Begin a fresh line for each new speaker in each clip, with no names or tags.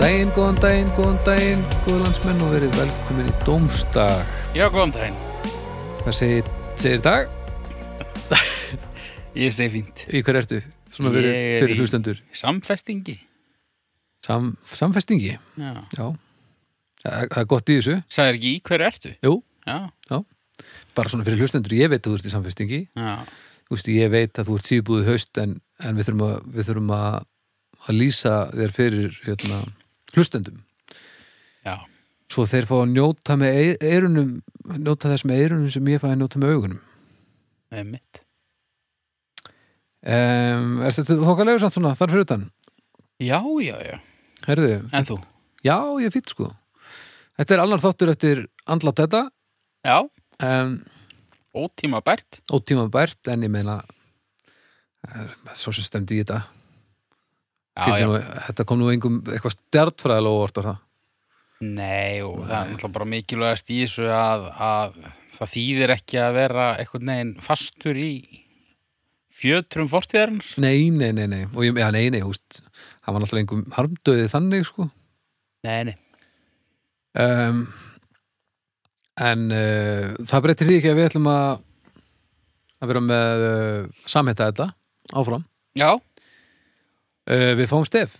daginn, góðan daginn, góðan daginn, góðu landsmenn og verið velkomin í Dómsdag.
Já, góðan daginn.
Hvað segir, segir í dag?
Ég segi fínt.
Í hver ertu? Svona fyrir,
Ég er
fyrir
í-
hlustendur.
Samfestingi.
Sam, samfestingi,
Já.
já. Það, það er gott í þessu.
Sæður ekki í hverju ertu?
Jú.
Já.
Bara svona fyrir hlustendur, ég veit að þú ert í samfestingi.
Já.
Þú veist, ég veit að þú ert síðbúið haust en, en við þurfum, að, við þurfum að, að lýsa þér fyrir hérna, hlustendum.
Já.
Svo þeir fá að njóta með ei- eyrunum, njóta þess með eyrunum sem ég fæ að njóta með augunum.
Það er mitt.
Um, er þetta þokkalegur samt svona þar fyrir utan?
Já, já, já.
Herðu,
En þú?
já, ég er fýtt sko Þetta er annar þáttur eftir andlátt þetta
Já.
um,
Ótíma bært.
ótíma bært en ég meina eh, svo sem stemdi í þetta
Já,
Skildi
já.
nú, þetta kom nú engum eitthvað stjartfræðilega óvart var það
Nei, og það er náttúrulega bara mikilvægast í þessu að, að það þýðir ekki að vera eitthvað neginn fastur í fjötrum fortíðarnar.
Nei, nei, nei, nei, og ég, já, nei, nei, húst það var náttúrulega engum harmdöði þannig sko
Nei, nei.
um, en uh, það breytir því ekki að við ætlum að að vera með uh, samhætta þetta áfram
Já.
uh, Við fáum stef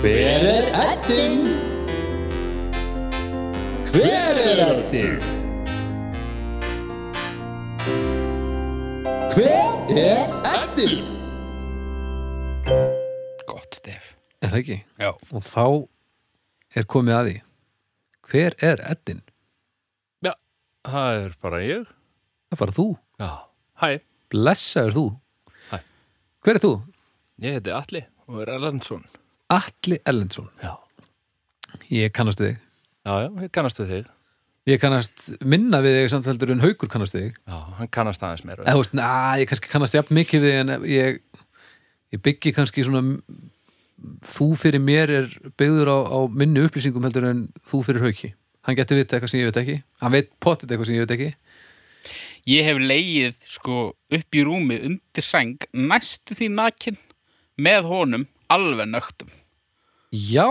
Hver er eddin? Hver er eddin? Hver er eddin?
Gott, Stef.
Er það ekki?
Já.
og þá er komið að því hver er Eddin?
Það er bara ég.
Það er bara þú,
Já. Hæ,
blessaður þú
Hæ.
Hver er þú?
ég heiti Alli og er Erlandsson.
Atli Ellensson
Já.
Ég kannast við þig
Já, já, ég kannast við þig.
Ég kannast minna við þig samt heldur en haukur kannast við þig
Já, hann kannast aðeins meira.
Eða þú veist, na, ég kannski kannast jafn mikið við þig en ég, ég byggi kannski svona þú fyrir mér er byggður á, á minni upplýsingum heldur en þú fyrir hauki Hann getur vita eitthvað sem ég veit ekki Hann veit pottet eitthvað sem ég veit ekki
Ég hef leið sko upp í rúmi undir sæng næstu því nakin með honum alveg nögtum.
Já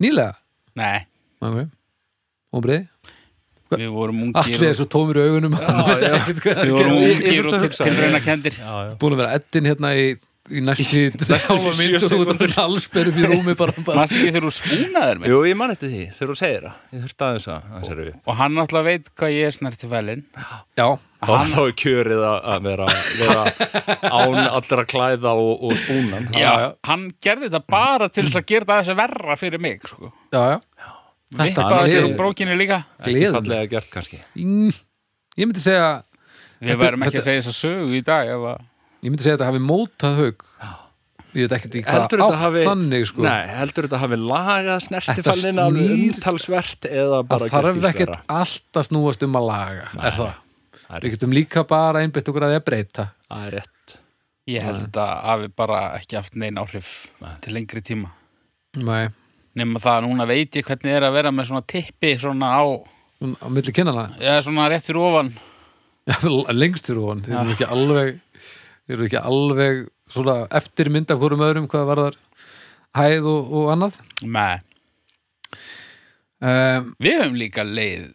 Nýlega
Nei,
Ok, ómbriði
við vorum
Allir
ungir
er
og,
svo tómur í augunum hann veit
já.
ekkert hvað er
við
að
vorum
gera.
Ég- ég
ungir
þurfti
og
að
til,
hugsa.
tilrauna kendir.
Já, já.
Búin að vera eddin hérna í, í næstu hálfa mynd og þú ert að allsperum í rúmi bara, bara.
Mannst ekki þegar þú skúnaðir mig
Jú, ég man eftir því þegar þú segir það. Ég þurfti aðeins að hans eru við.
og hann náttúrulega veit hvað ég er snart í fælin.
Já,
Þá þá er kjörið að að vera, vera án allra klæða og, og spúnan.
Já,
já.
hann gerði þetta bara til þess að gera það þessi verra fyrir mig sko.
já, já Þetta
Vippaði
er-
sér um brókinni líka.
Ekki
Gleðin
fallega gert kannski.
Mm, Ég myndi segja
Við
Þetta-
verðum ekki
þetta-
að segja þess að sögu í dag ef að
Ég myndi segja að þetta hafi mótað haug Ég veit ekkert í hvað
Heldur þetta
átt
hafi,
þannig sko
nei, heldur þetta hafi lagað snertifallin
Þetta
alveg
snýr-
umtalsvert eða
Það
bara
þarf
gert í
ekkert
skvera?
allt að snúast um að laga Er það? Við
Það er rétt.
getum líka bara einbytt okkur að því að breyta
Það er rétt.
ég held þetta hafi bara ekki haft neinn áhrif til lengri tíma.
Nei,
nema það að núna veit ég hvernig er að vera með svona tippi svona á,
á milli kynana
eða svona rétt fyrir ofan
Já, lengst fyrir hún þeir eru ekki alveg þeir eru ekki alveg svona eftirmynd af hverjum öðrum hvað var þar hæð og, og annað
Nei,
um,
við höfum líka leið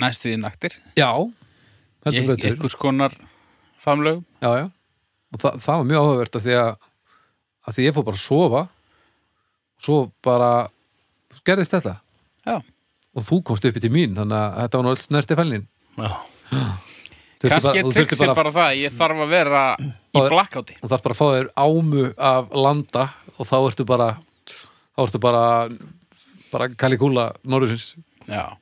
næstu í naktir
já, heldur
Ég-
betur
einhvers konar famlög
já, já. og þa það var mjög áhugavert að því að, að því ég fór bara að sofa svo bara gerðist þetta
Já,
og þú komst upp í til mín þannig að þetta var nú öll snert í fælnin
Já.
kannski er tryggsir bara, bara það ég þarf að vera í
Báðir-
blackouti
og þarf bara að fá þér ámu af landa og þá ertu bara þá ertu bara bara kalikúla norðusins
Já,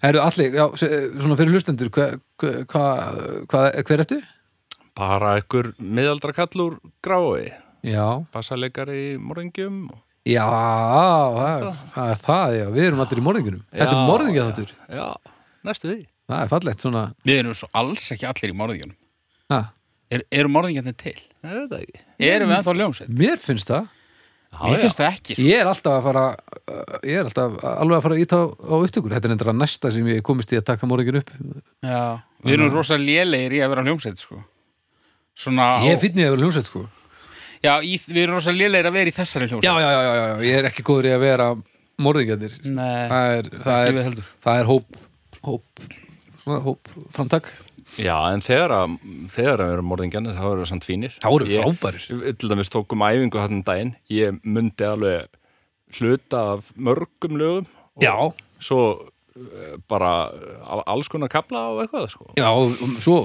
Það eru allir, já, s- eh, svona fyrir hlustendur hva, hva, hva, hva, hver ertu?
Bara einhver miðaldra kallur grái,
Já,
bassaleikari í morðingjum. og-
já, það, það er það, já, við erum allir í morðingunum Þetta er
Já,
morðingja þáttur,
Já, næstu því.
það er fallegt svona
við erum svo alls ekki allir í morðingjónum
ha,
er, Eru morðingjarnir til?
Ég veit það ekki.
Erum við ennþá ljómsveit?
Mér finnst það,
Mér finnst það ekki sko.
ég er alltaf að fara ég er alltaf alveg að fara að íta á, á upptökur þetta er endur að næsta sem ég komist í að taka morgin upp
Já, við erum rosa lélegir í að vera hljómsveit sko. Svona á,
ég finn ég að vera hljómsveit sko
Já, í, við erum rosa lélegir að vera í þessari hljómsveit
já, já, já, já, já, ég er ekki góður í að vera morðingjarnir
Nei,
það er, það
við
er,
heldur.
það er hóp hóp, svona hóp framtak
Já, en þegar að, þegar að vera morðingjarnir þá eru það samt fínir
Það voru
Ég-
frábærir.
Til dæmis tókum æfingu þarna um daginn Ég myndi alveg hluta af mörgum lögum og
já,
Svo eh, bara eh, alls konar kapla og eitthvað sko.
já, og svo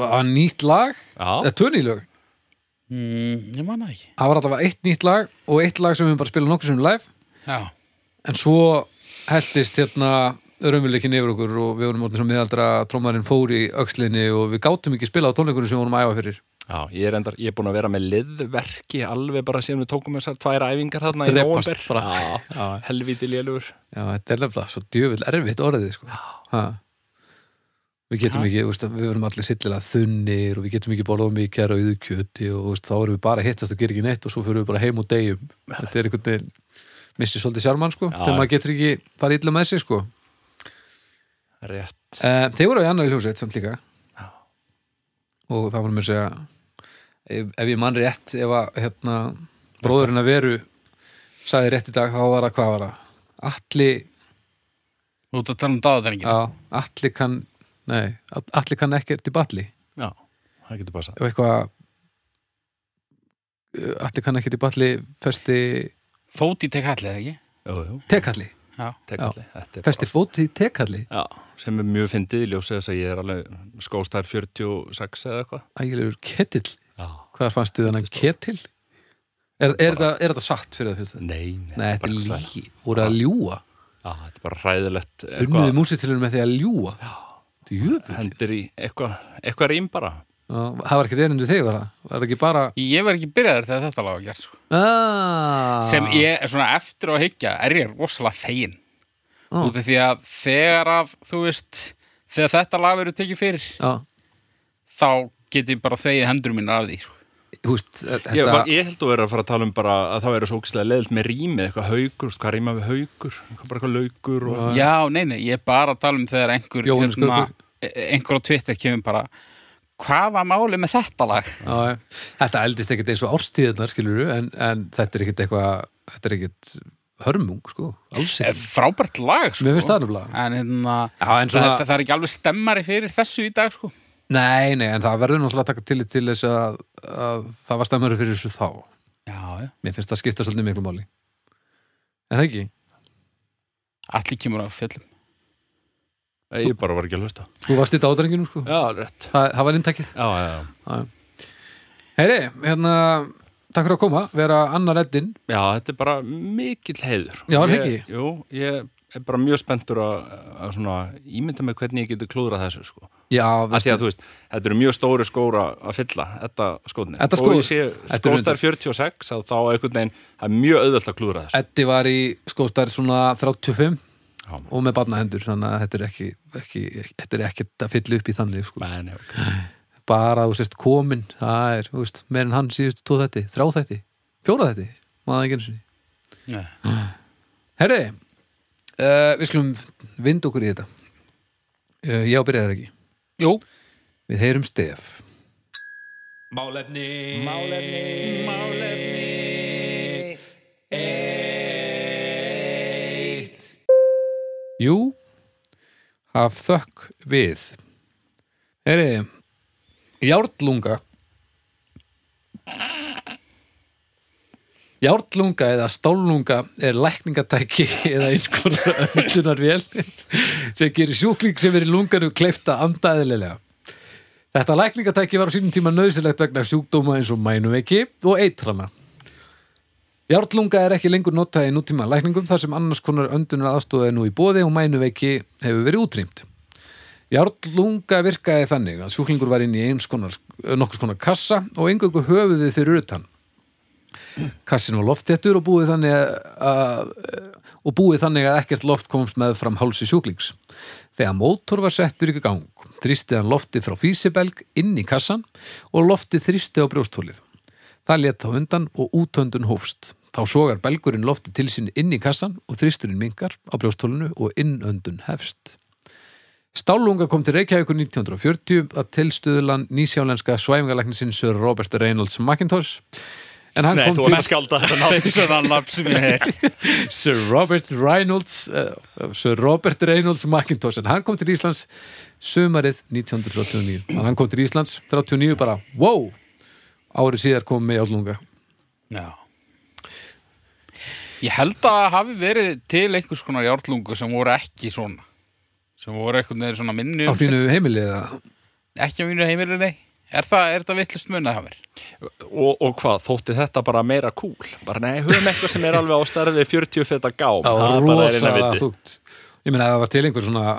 var nýtt lag,
Já.
eða tvö ný lög
mm, ég manna ekki
það var alltaf eitt nýtt lag og eitt lag sem við bara spilum nokkuð sem live
Já,
en svo heldist hérna raunvöleikin yfir okkur og við vorum orðin svo miðaldra trómarinn fór í öxlinni og við gátum ekki spila á tónleikunum sem við vorum að æfa fyrir
Já, ég er endar, ég er búin að vera með liðverki alveg bara síðan við tókum þessar tvær æfingar þarna í
Drepast
nóvember.
bara.
Já,
Já.
helvíti lélugur
Já, þetta er lefla svo djöfull erfitt orðið sko. Ha. Við getum ekki, úst, við verum allir hryllilega þunnir og við getum ekki borðað mikið og yður kjöti og úst, þá erum við bara að hittast og gera ekki neitt og svo fyrir við bara heim og deyjum Þetta er einhvern veginn missir svolítið sjármann sko, þegar maður getur ekki fara illa með sig sko.
Rétt
Uh, þeir voru í annar hljósveit samt líka og það voru mér að segja ef, ef ég mann rétt ef að hérna, bróðurinn að veru sagði rétt í dag þá var það hvað var það Atli,
þú ert að tala um dáðatrengin
já, Atli kann nei, At- Atli kann ekkert í balli
Já, það getur passað
og eitthvað uh, Atli kann ekkert í balli festi
Fóti tek hallið, eða ekki?
Jú, jú,
tekalli,
Já,
tek allir Þetta er
festi fótið í tekalli
bara- Já, sem er mjög fyndið í ljósið þess að ég er alveg skóstar 46 eða eitthvað
ægilegur ketill,
Já
hvað fannstu þennan ketill? Er, er, þetta, er þetta satt fyrir það fyrst?
Nei,
Nei, þetta er
bara-
líki, voru að ljúa
Já, þetta er bara hræðilegt
Unniði
eitthvað,
músitilunum með því að ljúa Djöfull
Hendir í eitthvað, eitthvað rým bara
Já, Það var ekkert erindu þig var það Var það ekki bara
Ég var ekki byrjaður þegar þetta lag var gert sko.
ah,
sem ég, svona eftir á að hyggja er ég rosalega fegin
Ó.
út af því að þegar að þú veist, þegar þetta lag verður tekið fyrir
Já,
þá get ég bara þegið hendur mínar af því sko.
þú veist þetta,
ég, var, ég held að vera að fara að tala um bara að það eru svo ógislega leðilt með rýmið, eitthvað haugur, veist hvað rýma við haugur, eitthvað bara eitthvað laugur og...
Já, nei, nei, ég er bara að tala um þegar einhver
Ah. Jóhannes Gaukur.
e- einhver á Twitter kemur bara hvað var málið með þetta lag?
Já, já. Þetta eldist ekkert eins og árstíðarnar skilur en, en þetta er ekkert eitthvað Þetta er ekkert hörmung sko Alls
Eh,
ekkert
Frábært lag, sko
Mér finnst það nefnilega
En, hérna,
Já, en svona-
það, það, það er ekki alveg stemmari fyrir þessu í dag, sko
Nei, nei, en það verður náttúrulega að taka til til þess að, að það var stemmur fyrir þessu þá
Já, já
Mér finnst það skipta svolítið miklu máli En það ekki?
Allir kemur á fjöllum
Nei, Ég bara var ekki að hlusta.
Þú varst í dádrenginum sko
Já, rétt.
Það, það var inntakið
Já, já, já.
Heyri, hérna, takk fyrir að koma, vera annar eddin
Já, þetta er bara mikill heiður.
Já, er það
Ég-
ekki?
Jú, ég er bara mjög spenntur að, að svona ímynda mig hvernig ég geti klúðrað þessu, sko.
Já,
Af
veistu,
því að þú veist, þetta eru mjög stóri skóra að fylla, þetta skóðni.
Þetta
Og
skór-
ég sé
þetta eru
skóstar 46, þá þá einhvern veginn, það er mjög auðvöld að klúðra þessu.
Eddi var í skóstar svona 35
Já.
og með barnahendur, þannig að þetta er ekki, ekki þetta er ekkert að fylla upp í þannig sko.
Nei, nei, ok.
bara að þú sért komin það er, þú veist, meir en hann síðust tvo þætti, þrjá þætti, fjóra þætti maður ekki einu sinni
Nei.
Herri, uh, við skulum vind okkur í þetta uh, Já, byrjaði ekki
Jú,
Við heyrum stef Jú, haf þökk við. Heyri, járnlunga. Járnlunga eða stállunga er lækningatæki eða einskona öndunarvél sem gerir sjúkling sem er í lunganu kleifta andaðilega. Þetta lækningatæki var á sínum tíma nöðsilegt vegna sjúkdóma eins og mænuveiki og eitrana. Járnlunga er ekki lengur notað í nútíma lækningum þar sem annars konar öndunar aðstóða er nú í bóði og mænuveiki hefur verið útrýmt. Járnlunga virkaði þannig að sjúklingur var inn í eins konar, nokkurs konar kassa og engöngu höfuðið fyrir utan. Kassin var loftettur og búið þannig að, og búið þannig að ekkert loft komst með fram hálsi sjúklings. Þegar mótor var settur í gang, þrýsti hann lofti frá físibelg inn í kassan og lofti þrýsti á brjósthólið. Það let þá undan og útöndun hófst. Þá sogar belgurinn lofti til sín inn í kassan og þristurinn mingar á brjóstólinu og innöndun hefst. Stálunga kom til Reykjavíkur 1940 að tilstuðlan nýsjálenska svæfingalæknisinn Sir Robert Reynolds McIntosh en hann
Nei,
kom
þú
til
varst að skálda þetta nátt.
Svona nafn sem ég heilt
Sir Robert Reynolds uh, Sir Robert Reynolds McIntosh en hann kom til Íslands sumarið 1939 Þannig að hann kom til Íslands 39 bara, wow árið síðar kom með Jálunga
Já Ég held að það hafi verið til einhvers konar járlungu sem voru ekki svona sem voru einhvern veginn svona minni
á
um sig.
þínu heimili eða
ekki á mínu heimili, nei Er það, er það vittlust munið hafir?
og, og hvað, þótti þetta bara meira cool bara nei, höfum eitthvað sem er alveg á starfið 40 feta gám
það var
bara er eina
rosalega
viti.
þúgt ég meina að það var til einhver svona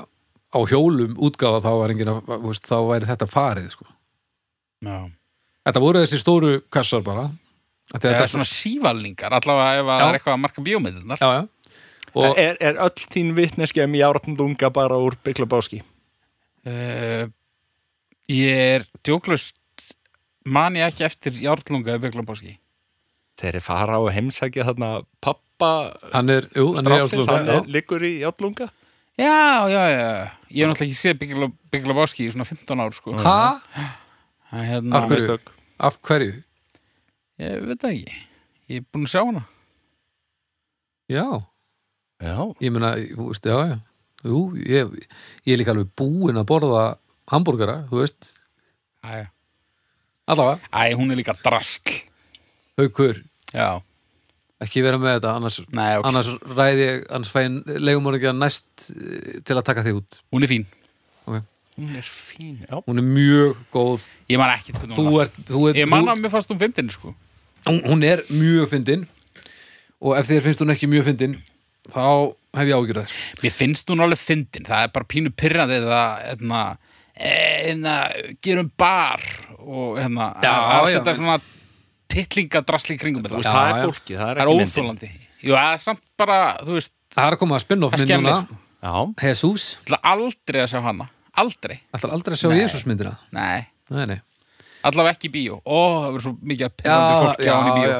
á hjólum útgáfa þá var enginn að, þú veist, þá væri þetta farið sko.
Já
þetta voru þessi stóru kassar bara Af því að
Eða
þetta
svona sívalningar, allavega ef að það
Já.
er eitthvað að marka bíómyndirnar
já, já. og
er, er öll þín vitneskja um járnunga bara úr Bygglabáski
Uh, ég er djóklaust man ég ekki eftir járlunga í Bygglambáski
þeir eru fara á að heimsækja þarna pappa
hann er, jú, hann er
stráksins, hann er,
Jálunga
liggur í járnunga
Já, já, já Ég hef náttúrulega ekki séð Bygglambáski í svona 15 ár sko.
ha?
Hann, hérna,
Af hverju? af hverju?
Ég veit það ekki Ég er búin að sjá hana
já
já,
Ég meina, þú veist, já, já Jú, ég, ég er líka alveg búinn að borða hambúrgara, þú veist
Æ,
Allavega,
Æ hún er líka drastl
haukur,
Já,
ekki vera með þetta annars,
nei, ok
annars ræði ég annars fæin legumorgja næst eh, til að taka þig út
Hún er fín
hún er fín já.
Hún er mjög góð
Ég man ekki hvernig
Þú
hún var
ert, þú ert
Ég man
þú,
að mér fannst hún fyndin sko
hún- Hún er mjög fyndin og ef þér finnst hún ekki mjög fyndin þá hef ég ágjur þess
Mér finnst hún alveg fyndin, það er bara pínu pyrrandi það, hérna, eh, hérna, gerum bar og hérna,
Já,
að
já.
setja svona tittlingadrasli í kringum
Þú
þetta.
veist,
Já,
það er
já.
fólki, það er
það er
ekki myndin
óþólandi. Jú, það er samt bara, þú veist,
Það er að koma að spinna
það
mynd núna
skemmir.
já,
Jesus,
Það er aldrei að sjá hana, aldrei,
ætlar aldrei að sjá
Nei.
Jesus myndina
nei,
Nei, nei
allavega ekki í bíó. Ó, það verður svo mikið að pyrrandi
já,
fólki á hann í bíó.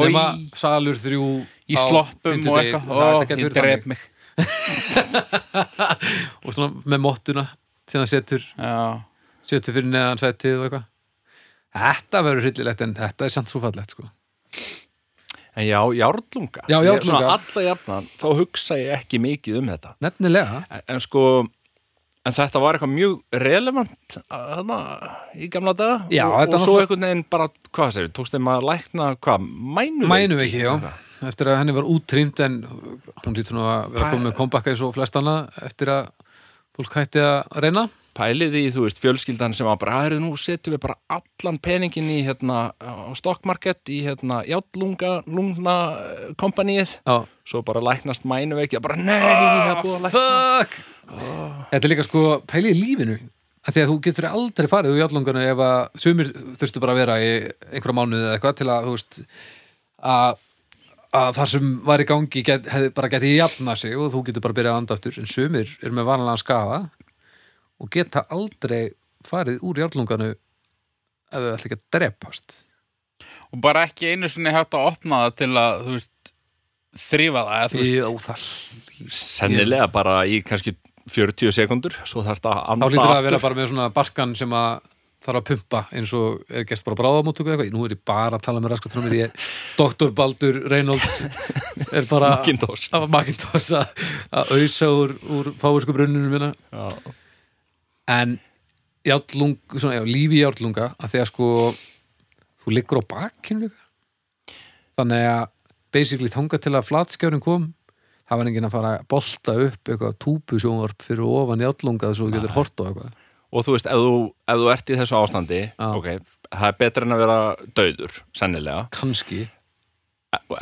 Oj.
nema salur þrjú
Í
á
sloppum og
fimmtudegi.
eitthvað,
Það
ó,
þetta getur
ég
verið
dref
þannig.
mig.
og svona með mottuna sem það setur,
Já,
setur fyrir neðan sætið og eitthvað Þetta verður hryllilegt en þetta er samt svo fallegt sko.
en já, járnunga
Já, járnlunga.
alla jafnan, þá hugsa ég ekki mikið um þetta
Nefnilega,
en, en sko en þetta var eitthvað mjög relevant þarna í gamla daga
Já,
og,
þetta
og svo
náttúrulega-
einhvern veginn bara, hvað segir, tókst þeim að lækna hvað, mænu
mænum ekki já. eftir að henni var útrýmt en hún lítur nú að vera
Pæ-
komið með kompakka í svo flest annað eftir að fólk hætti að reyna
pælið í, þú veist, fjölskyldan sem var bara, aðrið nú setjum við bara allan peningin í hérna, á stokkmarkett í hérna, játtlunga, lungna eh, kompanið,
Já, Ah,
svo bara læknast mænu ekki, bara nei, það er búið að lækna
fuck Sko, Þetta er líka sko pælið í lífinu að því að þú getur aldrei farið úr játtlungana ef að sumir þurftu bara að vera í einhverja mánuði eða eitthvað til að þú veist að, að þar sem var í gangi get, hefði bara getið jafna sig og þú getur bara að byrjað að anda aftur en sumir er með vanlega skaða og geta aldrei farið úr játtlunganu ef þau ætla ekki að drepast
og bara ekki einu sinni hægt að opna það til að, þú veist, þrýfa það, eða þú veist.
Jó, það
sennilega bara í kannski 40 sekundur, svo þarf þetta að
Þá
anda
lítur það að
aftur.
vera bara með svona barkan sem að þarf að pumpa eins og er gert bara bráðamóttöku eða eitthvað. Nú er ég bara að tala með raskatrömmir, ég er Dr. Baldur Reynolds er bara
Macintosh.
að, Macintosh að, að ausa úr, úr fáursku brunninu minna.
Já.
En járlung, svona, já, lífi járlunga að þegar sko þú liggur á bakinu líka. Þannig að basically þanga til að flatskjárin kom það var enginn að fara að bolta upp eitthvað túpusjónvarp fyrir ofan járlungað svo þú getur hort á eitthvað.
og þú veist, ef þú, ef þú ert í þessu ástandi ok, það er betra en að vera döður, sennilega
Kanski.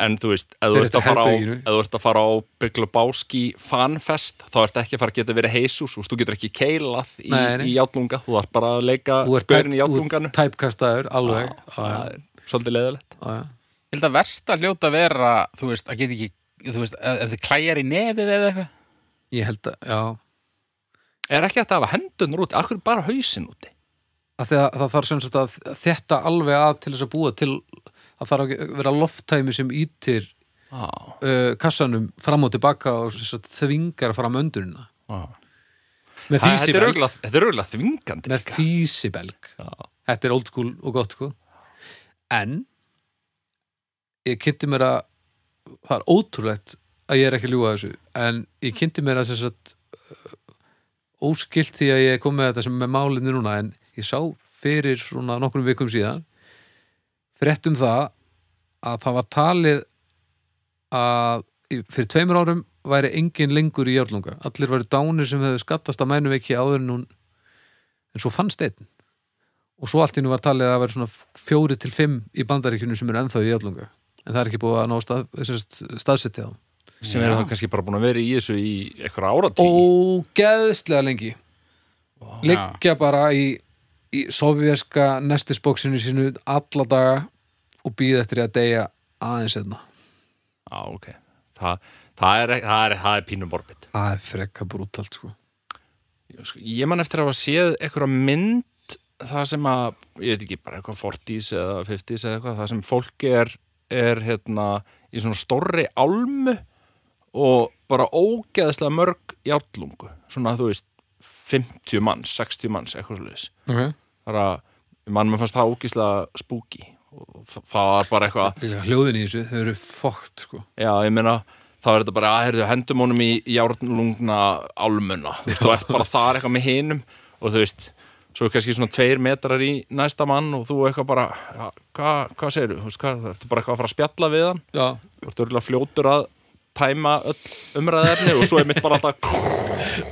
en þú veist, ef
Er
þú ert að
þetta
fara á
herberginu?
ef þú ert að fara á Bygglubáski fanfest, þá ert ekki að fara að geta verið heisús, þú veist, þú getur ekki keilað í,
Nei, nei.
í játlunga, þú ert bara að leika
Þú ert
gaurin
tæp-
í
þú
játlunganu
ert tæpkastaður, alveg Já,
það er svolítið leðilegt
já, já.
Ég held að versta hljóta að vera, þú veist, að geta ekki, þú veist, ef ef þið klæjar í nefið eða eitthvað.
Ég held að, já
er ekki hægt að hafa hendunar úti, akkur bara hausin úti
að að Það þarf sem sagt að þetta alveg að til þess að búa til að það er að vera lofttæmi sem ítir
Já,
uh, kassanum fram og tilbaka og sem sagt þvingar fram öndurina
já.
með
Ah. Það- Þetta er
físibelg,
auðvitað- þetta er auðvitað þvingandi
með físibelg.
Já.
þetta er old school og gott sko. en ég kynnti mér að það er ótrúlegt að ég er ekki að ljúga þessu en ég kynnti mér að sem sagt, uh, óskilt því að ég kom með þetta sem er með málinu núna en ég sá fyrir svona nokkrum vikum síðan frétt um það að það var talið að í- fyrir tveimur árum væri engin lengur í járlunga allir væri dánir sem hefðu skattast að mænuveiki áður en hún en svo fannst einn og svo allt í nú var talið að það væri svona fjóri til fimm í bandaríkjunum sem eru ennþá í jaflunga en það er ekki búið að ná stað, staðsetti þá
sem eru það kannski bara búin að vera í þessu í eitthvað áratí
ógeðslega lengi liggja bara í, í sovjerska nestisbóksinu sínu alla daga og býða eftir að deyja aðeins einna
Já, ok Þa, það, er, e- það, er, það er pínum borbit
það er frekka brútalt sko
Sko, Ég man eftir að hafa séð eitthvað mynd það sem að, ég veit ekki, bara eitthvað 40s eða 50s eða eitthvað, það sem fólki er, er hérna í svona stórri álmu og bara ógeðslega mörg játlungu, svona þú veist 50 manns, 60 manns, eitthvað svolítið
okay.
bara, mann mér fannst það ógeðslega spooky og þa- það var bara eitthvað
hljóðin í þessu, þau eru fókt sko
Já, ég meina, þá er þetta bara aðherðu hendum honum í járnlungna álmuna, þú veist, þú ert bara þar eitthvað með hinum og þú veist svo er kannski svona tveir metrar í næsta mann og þú eitthvað bara, ja, hvað hva segirðu, þú veist, hvað, ertu bara eitthvað að fara að spjalla við hann
já,
þú ert örgulega fljótur að tæma öll umræðefni og svo er mitt bara alltaf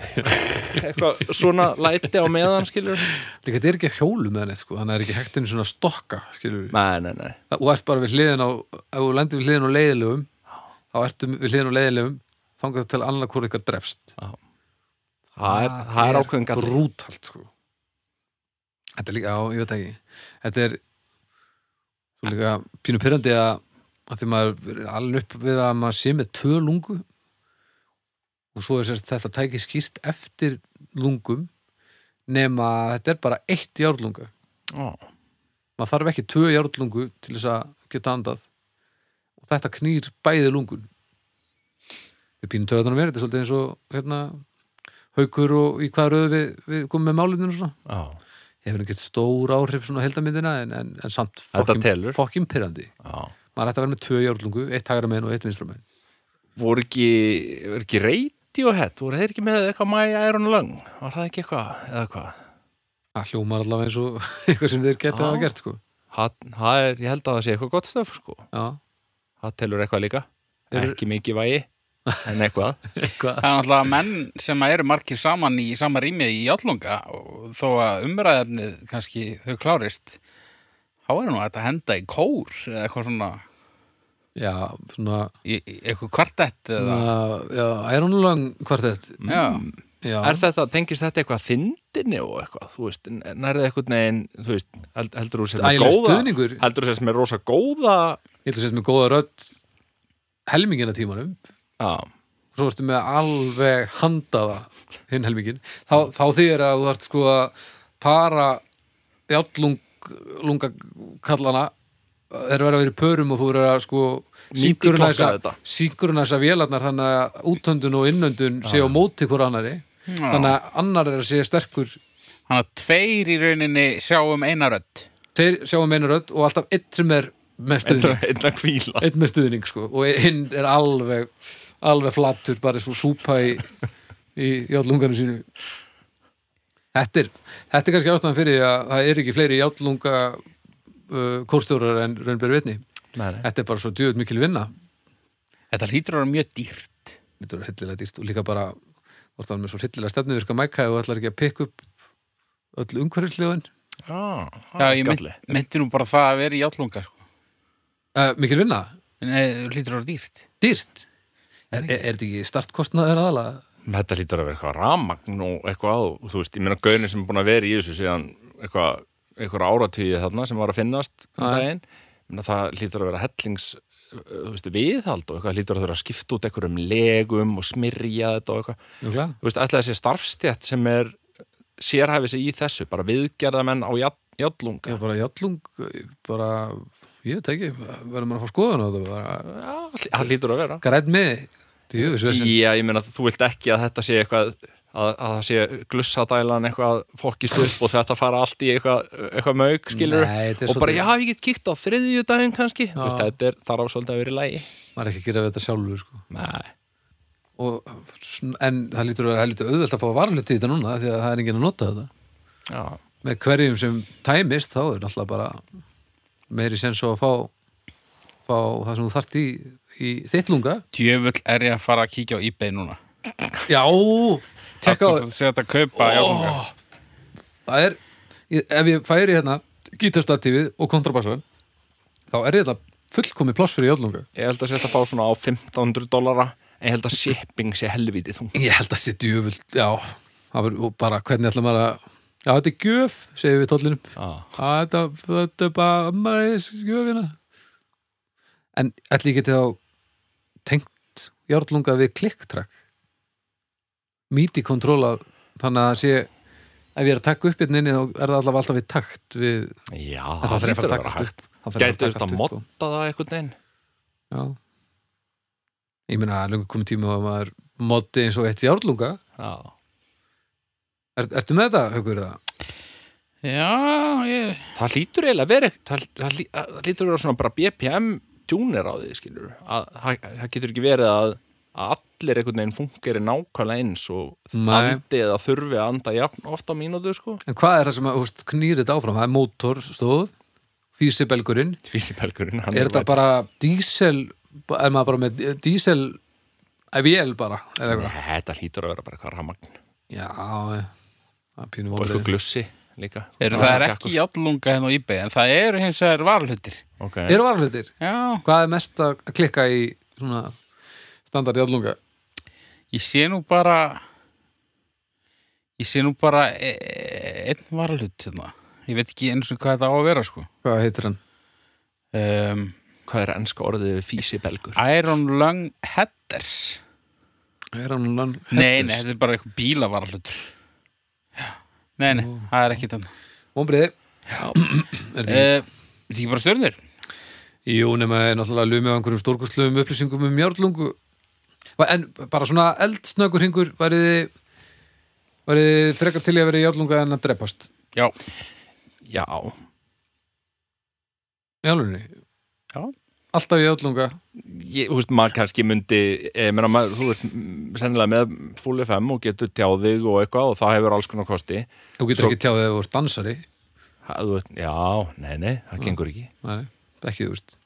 eitthvað svona læti á meðan, skilur
líka þetta er ekki að hjólu með henni sko þannig að það er ekki hægt einu svona að stokka skilur við
Nei, nei, nei,
og ert bara við hliðin á ef þú lendir við hliðin á leiðilegum þá ertu við hliðin á leiðilegum þangað til annað hvort ykkar drefst
það er, það er ákveðin
Ah,
gallið
brútalt sko þetta er líka, já, ég veit ekki þetta er svo líka pínu pyrrandi að að því maður er alveg upp við að maður sé með tvö lungu og svo er sérst þetta tæki skýrt eftir lungum nema að þetta er bara eitt járlunga maður þarf ekki tvö járnlungu til þess að geta andað og þetta knýr bæði lungun við pínum töðanum mér, þetta er svolítið eins og hérna, haukur og í hvað röðu við, við komum með málinu og svona
Já,
hefur ekki stór áhrif svona heldamyndina en, en, en samt
Þetta
fokkin-
telur.
fokkin pyrrandi
já
maður ætti að vera með tvö járnlungu, eitt hægra megin og eitt vinstra megin
voru ekki, voru ekki Radiohead, voru þeir ekki með eitthvað My Iron Lung, var það ekki eitthvað eða hvað,
það hljómar allavega eins og eitthvað sem þeir geta
Já.
hafa gert sko.
það, það er ég held að það sé eitthvað gott stöf sko,
já,
það telur eitthvað líka ekki mikið vægi, en eitthvað
eitthvað
Það er náttúrulega menn sem eru margir saman í sama rými í játlunga og þó að umræðefnið kannski þau klárist þá er nú hægt að henda í kór eða eitthvað svona,
já, svona
í, í- eitthvað kvartett eða,
uh, já, Iron Lung kvartett
já,
já,
er þetta, tengist þetta eitthvað þindinni og eitthvað, þú veist, nærðið eitthvað neginn, þú veist, held, heldur þú sem er
Ægilegur
góða,
stuðningur.
heldur þú sem er rosa góða
ég ætla að setja með góða rödd helmingina tímanum
já,
svo ertu með alveg handaða hinn helmingin þá, þá þýðir að þú ert sko að para játtlunga kallana þeir verða að vera í pörum og þú verður að sko
Mítklokka
synkronæsa-
þetta.
synkronæsa vélarnar þannig að útöndun og innöndun séu á móti hver annari þannig að annar er að sé sterkur
hann að tveir í rauninni sjáum eina rödd
þeir sjáum um einu rödd og alltaf eitt sem er með stuðning
einna kvíla
einn með stuðning sko og hinn er alveg alveg flattur, bara svo súpa í, í játlunganum sínu þetta er þetta er kannski ástæðan fyrir því að það er ekki fleiri játlunga uh, kórstjórar en raunberi vitni
Nei, nei.
þetta er bara svo djöð mikil vinna
Þetta hlýtur að vera mjög dýrt
þetta er hryllilega dýrt og líka bara orðan með svo hryllilega stefnivirka mæka og ætlar ekki að pikka upp öll umhverfislegun
já,
Já, ég mynd,
Ah, galli.
myndi nú bara það að vera í játlunga sko.
uh, mikil vinna,
Nei, það hlýtur að vera dýrt
dýrt er, er, er þetta ekki startkostnaður aðalega?
Þetta lítur að vera eitthvað ramagn og eitthvað og þú veist, ég meina gaunin sem er búin að vera í þessu síðan eitthvað, eitthvað áratugið þarna sem var að finnast um
Já.
daginn ég meina það lítur að vera hellings uh, þú veist, viðhald og eitthvað lítur að þurfa að skipta út einhverjum legum og smyrja þetta og eitthvað
Júkla?
þú veist, ætlaði þessi starfstjætt sem er sérhæfið sig í þessu, bara viðgerðamenn á járnlunga
Já, bara játlung, bara ég veit ekki, verður maður að fá skoðan á það
Já, það lítur að vera
grætt með því
Já, ég meina þú vilt ekki að þetta sé eitthvað að, að það sé glussadælan eitthvað fokist upp og þetta fara allt í eitthvað, eitthvað mög skilur
Nei, þetta er
og bara
svolítið-
já, ég get kíkt á þriðju daginn kannski Þú veist, þetta er þarf svolítið að vera í lægi
maður er ekki að gera þetta sjálfur sko.
Nei,
og, sn- en það lítur að vera helviti auðvelt að fá varluti í þetta núna því að það er enginn að nota þetta
já,
með hverjum sem tæmist þá er náttúrulega bara meiri sens á að fá, fá það sem þú þart í, í þitt lunga
Djöfull er ég að fara að kíkja á eBay núna
Já, tekka á
Þetta setja að kaupa oh.
það er, ég- ef ég færi hérna gítarstatífið og kontrabassan þá er þetta fullkomi pláss fyrir jólunga
ég held að sé þetta fá svona á 1500 dollara en ég held að shipping sé helviti þung
Ég held að sé djöfull, já það var og bara hvernig ætla maður að Já, þetta er gjöf, segir við tóllinum
Já.
þetta, þetta er bara maður gjöfina En ætli ég geti þá tengt járlunga við klikktrack Míti kontróla þannig að það sé ef ég er að taka upp hérna inni þá er það allavega alltaf við takt við,
Já,
en það þarf að taka
hægt
upp það þarf að
Gæti
takast
þetta að
upp sko. og-
modda það eitthvað neginn
Já Ég meina að löngu komið tíma að maður moddi eins og eitt járlunga
Já,
er, Ertu með þetta, haukur, eða?
Já, ég
það lítur eiginlega verið það, það, lí- það lítur verið svona bara BPM tjúnir á því, skilur að, það, það getur ekki verið að, að allir einhvern veginn fungeri nákvæmlega eins og
Nei.
andi eða þurfi að anda jafn ofta mínútu, sko
En hvað er það sem að, húst, knýr þetta áfram? Það er mótor, stóð, físibelgurinn.
Tvísipelgurinn, hann
Er þetta bara dísel, er maður bara með dísel, ef ég el bara, eða
Nei,
eitthvað?
Þetta lítur að vera bara eitthvað ramagn
Já, ég- það er pínu
og eitthvað
vonlega.
glussi líka
er, Það er ekki játtlunga hérna á eBay en það eru hins vegar varlutir
okay.
Eru varlutir?
Já,
Hvað er mest að klikka í svona standard jálunga?
ég sé nú bara ég sé nú bara e e- einn varlut hérna. ég veit ekki eins og hvað þetta á að vera sko.
Hvað heitir hann?
um,
Hvað er ennska orðið við físipelgur?
Iron Lung Headers
Er hann hann?
Nei, nei, þetta er bara eitthvað bílavarlutur Já. Nei, nei, það er ekki þannig
Vombriði.
Þetta
Eh.
er ekki bara stjörnir
Jú, nema er náttúrulega lumið á einhverjum stórkustlum upplýsingum um járlungu En bara svona eldsnökur hingur værið þið værið þið frekar til í að vera í járlunga en að drepast
Já,
Já,
í alvegni
Já.
Alltaf í járlunga
ég, þú veist, maður kannski myndi eh, ég meina, maður, þú veist, m- sennilega með full FM og getur tjáðig og eitthvað og það hefur alls konar kosti
Þú getur
Svo-
ekki tjáðið að þú ert dansari
það, þú veist, já, nei, nei, það gengur ekki
Nei, ekki þú veist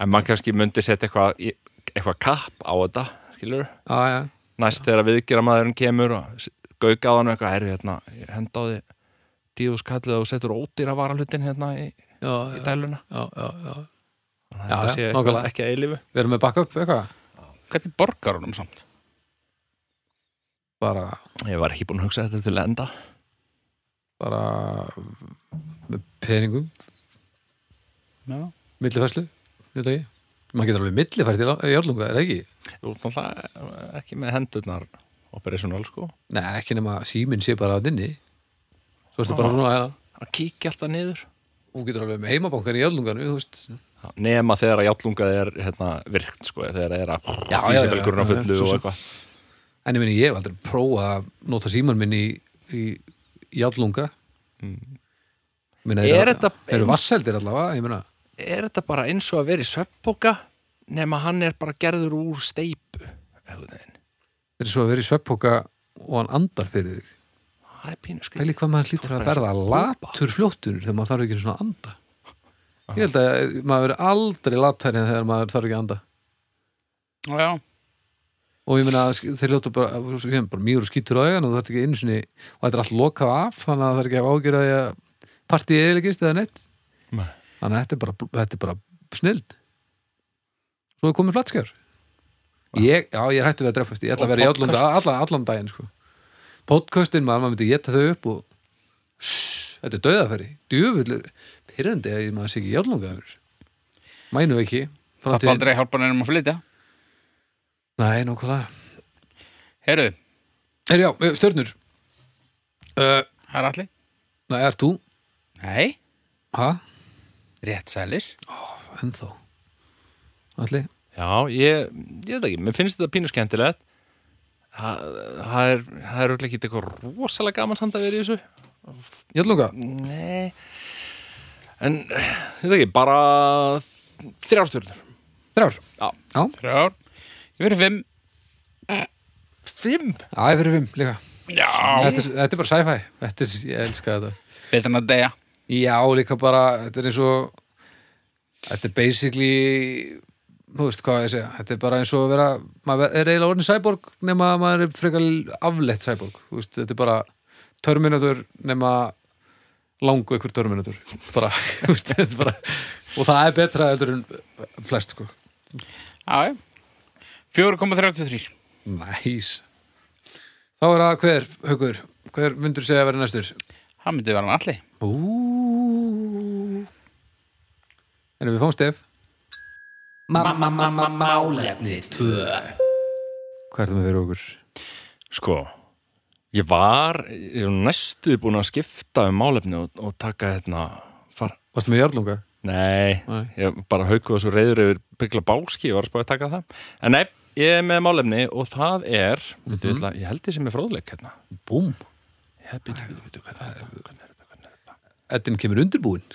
en maður kannski myndi setja eitthvað í- eitthvað kapp á þetta, skilur
Já, já,
næst þegar viðgjara maðurinn kemur og gauka á hann eitthvað, herri, hérna ég henda á því tíðuskallið og setur ódýra varalutin hérna í,
já,
í
já,
dæluna
já, já, já.
þetta
já,
sé
nákvæmlega.
eitthvað ekki að eilifu
Við erum með backup eitthvað
hvernig borgar honum samt?
bara,
ég var ekki búin að hugsa þetta til enda
bara með peningum
Já,
millifærslu, þetta ekki Maður getur alveg millifært í járlunga, er það ekki?
þú ert náttúrulega ekki með hendurnar operational sko
Nei, ekki nema að síminn sé bara að nynni Svo ertu bara svona að
að kíkja alltaf niður
Hún getur alveg með heimabankan í jálunganu, þú veist
nema þegar að játlungað er hérna, virkt sko, þegar það er að
já, já,
físibelgurinn á
já, já,
fullu
svo
og
sem.
eitthvað
En ég meni, ég hef aldrei prófað að nota síman minn í, í jálunga mm.
Er
Er
þetta-
Eru vasseldir allavega, ég meina
er þetta bara eins og að vera í sveppoka nema hann er bara gerður úr steipu einhvern veginn.
Þetta er svo að vera í sveppoka og hann andar fyrir þig
það er pínu skrið
Hæli hvað maður hlýtur að verða latur fljóttunur þegar maður þarf ekki svona að anda Ég held að maður verið aldrei latar en þegar maður þarf ekki að anda
já,
og ég meina sk- þeir ljóta bara, ég meina, bara mjög skýtur á augan og það er ekki einu sinni og þetta er allt lokað af þannig að það er ekki að ágjöra því að partíið eðilegist eða neitt
Nei.
þannig að þetta er bara, þetta er bara snild svo er komið flatskjör ég, já ég er hættu við að drefast ég ætla að
Og
vera í allan,
podcast.
allan, allan daginn sko. podcastin maður, maður myndi geta þau upp og þetta er döðafæri djöfullur, pyrrandi að ég maður sé ekki jálungaður mænu ekki
það er aldrei hjálpa nefnum að flytja
Nei, nákvæmlega
Heru,
Herri, já, stjörnur uh,
það er allir
Nei, er þú?
Nei,
Hæ?
rétt sælis
ennþá Alli,
Já, ég, ég veit ekki, mér finnst þetta pínu skemmtilegt Þa, það er það er örugglega ekki eitthvað rosalega gaman samt að vera í þessu
Jallunga
Nei En, ég veit ekki, bara þrjárstjörnur
Þrjár
Já.
Já,
Þrjár. Ég verið fimm.
Fimm?
já ég fyrir fimm líka
Já.
þetta er, þetta er bara sci-fi Þetta er, ég elska þetta
Betur en að deyja.
Já, líka bara, þetta er eins og Þetta er basically Þú veist hvað á ég að segja Þetta er bara eins og að vera Maður er eiginlega orðin cyborg nema að maður er frekar aflett cyborg Þú veist, Þetta er bara Terminator nema langu ykkur Terminator bara, þú veist, þetta er bara, Og það er betra heldur en flest sko.
Já, já. 4,33.
Næs Þá er það hver, haukur Hver myndur segja að vera næstur?
Það myndi vera hann allir.
Ú Erum við fóngstef?
Mamma, mamma, málefni tvö
Hvað er það með fyrir okkur?
Sko, ég var ég er næstu búin að skipta um málefni og, og taka hérna far.
Varstu með jörlunga?
Nei,
Nei.
ég bara haukuð þessu reyður yfir byggla báski, ég var að spáði að taka það En nei, ég er með málefni og það er mm ætla, ég held ég sem er fróðleik hérna
Búm
Ég hef býtu, býtu, býtu, hvernig er þetta, hvernig er þetta, hvernig er þetta
Eddin kemur undirbúin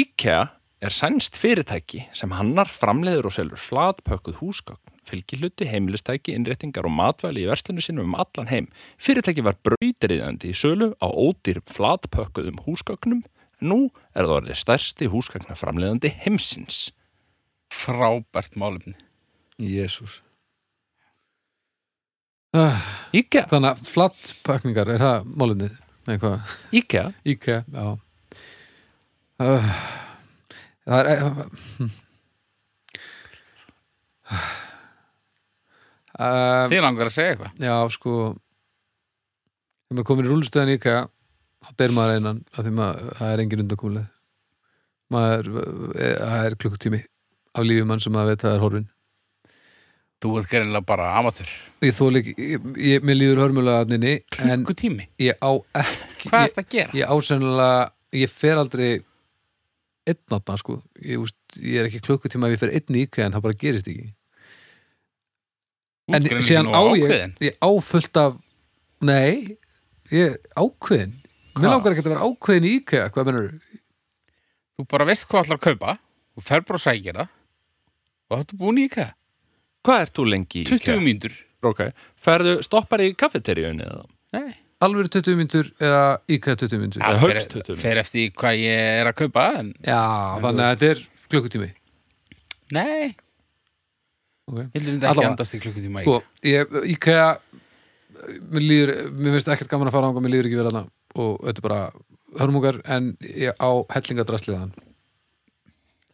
IKEA er sænst fyrirtæki sem hannar framleiður og selur flatpökkuð húsgögn, fylgihluti, heimilistæki, innréttingar og matvæli í verslunum sínum um allan heim. Fyrirtæki var brautriðandi í sölu á ódýr flatpökkuðum húsgögnum, nú er það orðið stærsti húsgagnaframleiðandi heimsins.
Frábært málefni.
Jésús ah,
IKEA,
Þannig að flattpakningar, er það málumnið? Nei, hvað?
IKEA,
Íka, já ah, Það er hm. Ah,
Þið langar að segja eitthvað.
Já, sko þegar maður komin í rúlustöðan í IKEA þá ber maður einan af því maður, það er engin undankomuleg maður, eh, það er klukkutími af lífum mann sem maður veit að það er horfin
Þú ert gerinlega bara amatör.
ég þóli ekki, ég, ég, mér líður hörmulega að nynni, en
Hvað tími?
ég á ekki
Hvað
ég,
ert að gera?
ég ásennilega, ég fer aldrei einn átna, sko ég, úst, ég er ekki klukkutíma ef ég fer einn í IKEA en það bara gerist ekki
Þú ert
en
greinilega
síðan
nógu
á
ákveðinn.
ég, ég á fullt af nei, ég ákveðin mér
Hvað?
langar ekki að vera ákveðin í IKEA hvað mennur,
Þú bara veist hvað allar að kaupa. Þú fer bara og sækir það. Og það ertu búin í IKEA.
hvað ert þú lengi í
20
IKEA?
mínútur.
Ok, ferðu, stoppar í kaffeteríunni eða?
Nei.
alveg 20 myndur eða IKEA 20 myndur já,
Það
högst
fer,
20.
fer eftir því hvað ég er að kaupa. En
þannig að þetta er klukkutími
nei,
okay.
heldur þetta ekki
Allavega.
andast í klukkutíma í
sko, ég, IKEA mér líður, mér finnst ekkert gaman að fara ánga mér líður ekki vel hana og þetta er bara hörmungar en ég á hellingadrasliðan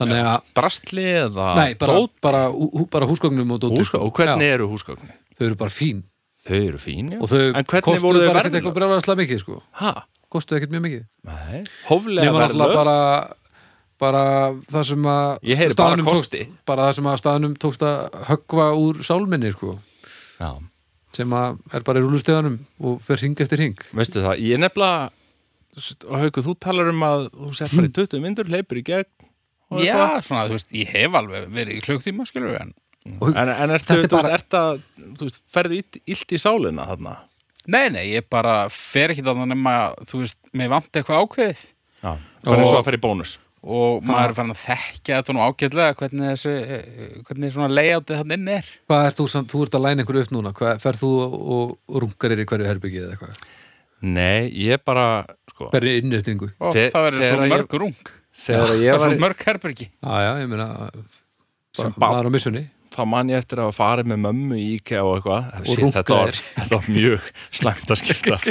þannig að
Drastli eða?
Nei, bara,
dót?
bara, hú, bara húsgögnum og dóttur
Húsgögn, og hvernig eru húsgögnin?
Þau eru bara fín
Þau eru fín, já.
og þau
en hvernig
kostuðu
voru þau
bara ekkert eitthvað
verðlun?
brjálæðislega mikið sko.
Hæ?
kostuðu ekkert mjög mikið
Nei, hóflega
nema náttúrulega
verðlöf
bara, bara það sem að
Ég heyri bara
staðnum
kosti.
tókst, bara það sem að staðnum tókst að höggva úr sálminni sko,
Já.
sem að er bara í rúlusteganum og fer hring eftir hring
Veistu það, ég nefnilega þú veist, og Hauku, þú talar um að þú sér
Hmm.
bara í 20 myndur, leipur í gegn og
Já,
eitthvað.
svona, þú veist, ég hef alveg verið í klukkutíma, skilur við, en
En, en ertu,
Þetta er
þú veist,
bara-
ert að þú veist, ferðu illt, illt í sálina þarna
Nei, nei, ég bara fer ekki þannig nema, þú veist, mér vant eitthvað ákveðið
Já, bara eins og
Og-
að ferðu í bónus
og maður er fann að þekkja þetta nú ágætlega hvernig þessu, eh, hvernig svona layoutið hann inn er.
Hvað er þú samt, þú ert að læna einhverju upp núna hvað, ferð þú og, og rungar er í hverju herbyggið eða eitthvað,
Nei, ég bara sko,
hverju innréttingu
Og
Þe-
það verður svo
þegar ég-
mörg rung,
þegar
það
ég
er
var
svo mörg herbergi.
Já, já, ég meina bara,
Sem barn.
maður á missunni
þá man ég eftir að fara með mömmu í IKEA og eitthvað
Og
Shit,
runka
þetta, var-
þér.
þetta var mjög slæmt að skilta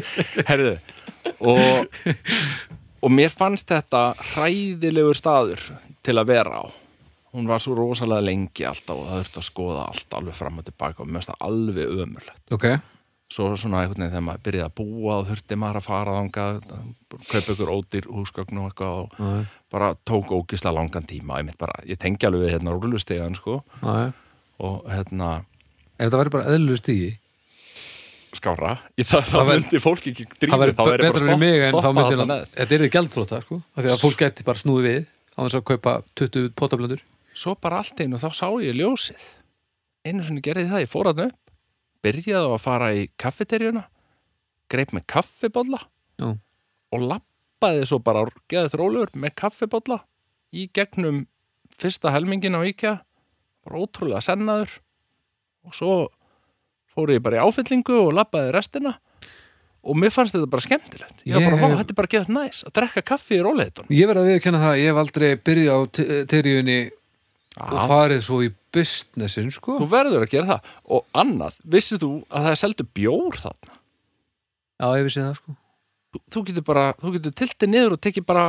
Herðu og, og mér fannst þetta hræðilegur staður til að vera á hún var svo rosalega lengi alltaf og það þurfti að skoða allt alveg fram og tilbaka og mér finnst það alveg ömurlegt
Ok,
svo svona einhvern veginn þegar maður byrjaði að búa og þurfti maður að fara þangað kaupa ykkur ódýr húsgögn og eitthvað og bara tók ógislega langan tíma ég, bara, ég tengi alveg við hérna rúlustegan sko
já, já
og hérna
Ef þetta væri bara eðlur stígi
skára í það, það,
væri-
myndi fólk ekki
það
drífa
væri
það væri
betra fyrir mig en þá
stoppa
myndi
þarna
hann
neðst.
þetta er þið gjaldflóta sko af því að fólk gæti bara snúið við á þess að kaupa 20 potablandur
svo bara allt einu þá sá ég ljósið einu sinni gerði ég það, ég fór að upp byrjaði á að fara í kaffeterjuna greip með kaffibólla
Já.
og lappaði svo bara geðið þrólur með kaffibólla í gegnum fyrsta helmingin á IKEA bara ótrúlega sennaður og svo fór ég bara í áfyllingu og lappaði restina og mér fannst þetta bara skemmtilegt ég var
Ég hef-
bara, vá, þetta er bara geðið næs að drekka kaffi í róleitunum
Ég verð að viðkjanna það, ég hef aldrei byrjað á terjunni og farið svo í businessin, sko.
Þú verður að gera það og annað, vissið þú að það er seldu bjór þarna
Já, ég vissi það, sko.
þú, þú getur bara, þú getur tiltið niður og tekið bara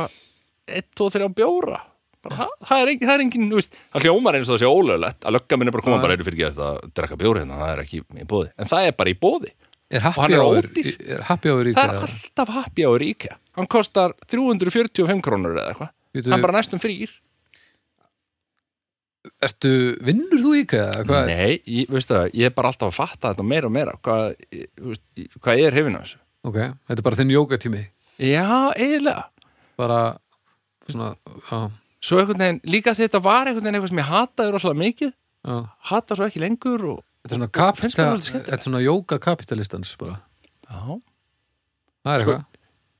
1, 2, 3 bjóra bara, ha, það er engin, það er engin þú veist, það hljómar eins og það sé ólöglegt að lögga minni bara koma
Já.
bara eru fyrir ekki að drekka bjór hérna, það er ekki í bóði, en það er bara í bóði
Er
hann
happy
er
hour,
ódýr.
er happy hour í
það er
dag?
alltaf happy hour í IKEA hann kostar 345 krónur eða eitthvað,
Bíddu,
hann er bara næstum frýr
Ertu, vinnur þú íka? Hvað,
Nei, ég, veistu það, ég er bara alltaf að fatta þetta meira og meira, hvað, ég- þú veist, ég- hvað ég er hefina þessu
ok, þetta er bara þinn jókatími.
Já, eiginlega
Bara, svona, já,
svo einhvern veginn, líka því þetta var einhvern veginn eitthvað sem ég hataði rosalega mikið
já.
hata svo ekki lengur og
Þetta er svona
finnst mér
kapital,
alveg skemmtilegt.
þetta er svona jókapitalistans, bara.
já.
Það er
Sko-
eitthvað.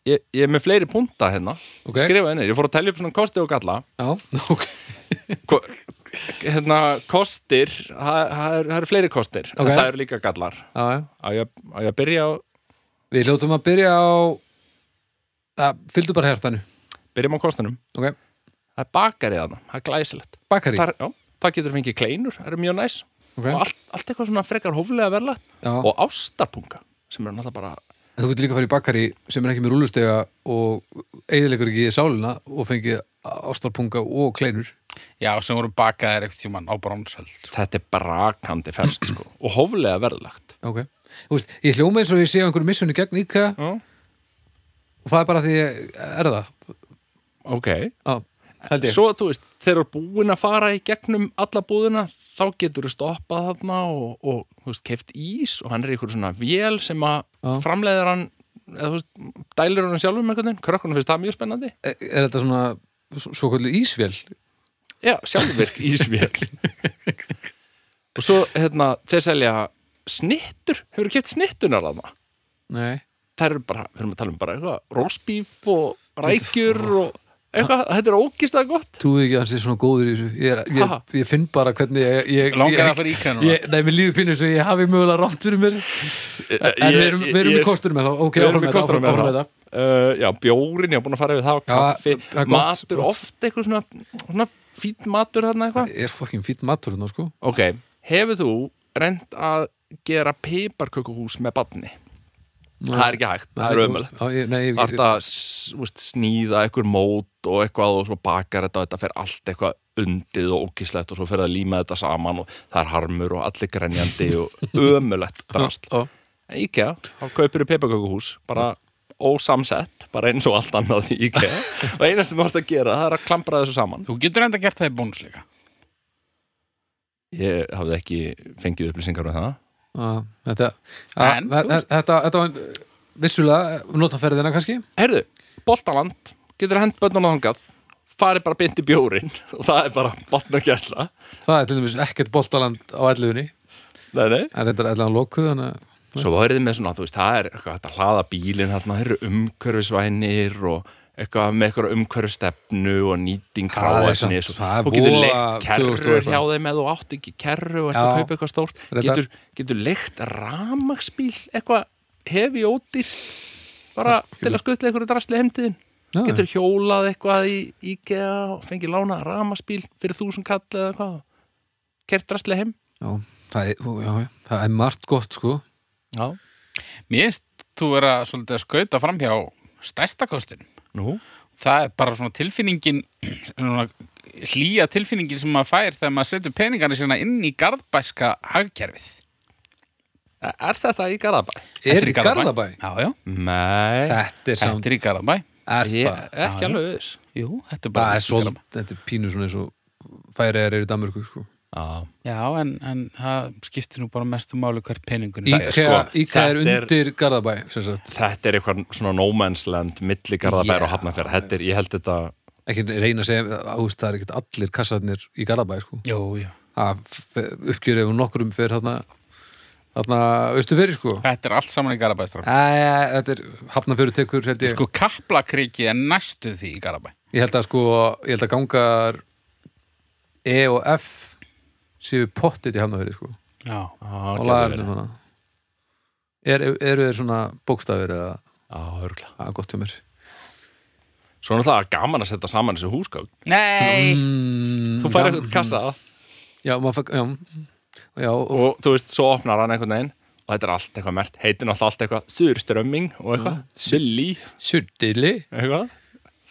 Ég, ég er með fleiri punta hérna
Ok.
skrifaði neyri, ég fór að telja upp svona kosti og galla
Já, ok.
Ko hérna, kostir það það eru er fleiri kostir
Ok.
en það eru líka gallar
Já, já.
á ég, á ég að byrja á,
Við hljóttum að byrja á, að, fylgdu bara hjartanu,
byrjum á kostinum
ok?
það er bakarið þarna, það er glæsilegt
Bakari,
það, er- já, það getur fengið kleinur, það eru mjög næs
ok?
og allt, allt eitthvað svona frekar hóflega verðlagt
Já.
og ástapunga sem er náttúrulega bara
En Þú getur líka að fara í bakari sem er ekki með rúlustega og eigðilegur ekki í sálina og fengið ástarpunga og kleinur.
Já, sem voru bakaðir eitthvað tímann á bronsöld.
þetta er brakandi færst sko, og hóflega verðlagt
Ok. Þú veist, ég hljóma eins og ég sé á einhverjum missunni gegn IKEA
Já.
og það er bara því ég er það.
ok,
Já, held ég.
Svo, þú veist, þegar þú er búin að fara í gegnum alla búðina, þá getur þú stoppað þarna og, og þú veist, keft ís og hann er einhver svona vél sem að
Já.
framleiðir hann, eða þú veist, dælir hann sjálfum einhvern veginn, krökkunum finnst það mjög spennandi.
Er, er þetta svona svo kvöldu ísvél?
Já, sjálfvirk ísvél. og svo, hérna, þeir selja snittur, hefur keft snittunar þarna.
Nei.
Það eru bara, við erum að tala um bara eitthvað, rósbíf og rækjur og eitthvað, þetta er ógist að gott.
Trúðu ekki að hann sé svona góður í þessu. Ég, er, ég,
Ha.
ég finn bara hvernig ég... ég
Langar
ég-
það fyrir íkæðan núna?
Ég, nei, mér líður pínu sem ég hafi mögulega rátt fyrir mér En við erum, við erum í kostunum með þá Ok,
Við
áfram
erum í
með það,
kostunum
áfram,
með
áfram með
það.
það
Uh, já, bjórin, ég var búin að fara yfir það og
Já,
kaffi,
það er gott,
matur,
gott.
oft eitthvað svona, svona fýtt matur þarna eitthvað
Er fokkin fýtt matur þarna, sko
Ok, hefur þú reynd að gera peiparkökuhús með badni? Það er ekki hægt, það er ömulegt
Já, ég- Nei, ég-
Það er að s- þú veist, sníða einhver mót og eitthvað og svo bakar þetta og þetta fer allt eitthvað undið og ókislegt og svo fer það að líma þetta saman og það er harmur og allir grenjandi og ömulegt drast
Já.
En IKEA, þá kaupir þú peiparkökuhús bara ósamsett, bara eins og allt annað í IKEA og eina sem þú ert að gera það er að klambra þessu saman
Þú getur enda gert það í bóns líka.
Ég hafði ekki fengið upplýsingar um það
Já, Þetta
En,
Já,
þú
þe-
veist.
Þetta þetta var vissulega notaferðina kannski
Herðu, Boltaland getur hent bönnum á þangað farið bara beint í bjórin og það er bara botnagjæsla
Það er til dæmis ekkert boltaland á elluðinni
Nei, nei
En þetta er ellan lokuð þannig að-
Svo var þið með svona, þú veist, það er eitthvað hægt að hlaða bílinn, þarna það eru umhverfisvænir og eitthvað með eitthvað umhverfistefnu og nýting
Það er
hráefnis
samt-
og
það er
þú getur
voða 2000 og
leikt kerrur hjá
eitthvað.
þeim eða þú átt ekki kerru og ert
Já.
að kaupa eitthvað stórt
Reyndar.
getur, getur leikt ramagsbíl eitthvað hefi ódýrt bara til að skutla eitthvað drastli heimtiðin
Já,
getur hjólað eitthvað í IKEA og fengið lána ramagsbíl fyrir þúsund kall eða hvað kert drastli heim
já, það er- ú, já, já, það er margt gott sko
Já,
Mér finnst þú vera svolítið að skauta fram hjá stærsta kostin.
nú
Það er bara svona tilfinningin, svona hlýja tilfinningin sem maður fær þegar maður setur peningarnir sína inn í garðbæska hagkerfið.
Er þetta í Garðabæ?
Er í Garðabæ?
Já, já,
Nei
Þetta er samt
þetta er í Garðabæ.
Er
Ég
það?
er ekki
Já, já.
alveg viss
Jú, þetta er
Það
bara
er svolítið Þetta er pínu svona eins og færiðar eru í Danmörku sko
Já.
Já, en, en það skiptir nú bara mestu máli hvert peningun er.
Íkæða
sko,
er
þetta er-
undir Garðabæ sem sagt.
Þetta er eitthvað svona no man's land milli Garðabær
Já.
og Hafnarfjörð, þetta er, ég held þetta
En ekki reyna að segja ást, það er ekkert allir kassarnir í Garðabæ sko.
Jú, jú.
uppgjörið ef nokkrum fyrir þarna, þarna austu fyrir sko.
Þetta er allt saman í Garabæðstrák.
Æ, þetta er hafnafyrir tekur held ég,
Sko, Kaplakriki er næstu því í Garabæ.
ég held að sko ég held að gangar E og F séu pottit í hafnafyrir sko.
Já.
Á,
og lagarnir svona er, eru þeir svona bókstafir eða
Á, örgulega.
að gott hjá mér
Svo er náttúrulega gaman að setja saman þessu húsgögn.
Nei!
mm,
Þú fær eitthvað kassa
já, maður fæk, já, já og,
og þú veist, svo opnar hann einhvern veginn og þetta er allt eitthvað mert, heitir náttúrulega allt eitthvað surströmming og eitthvað, silly
Sjöldili
eitthvað,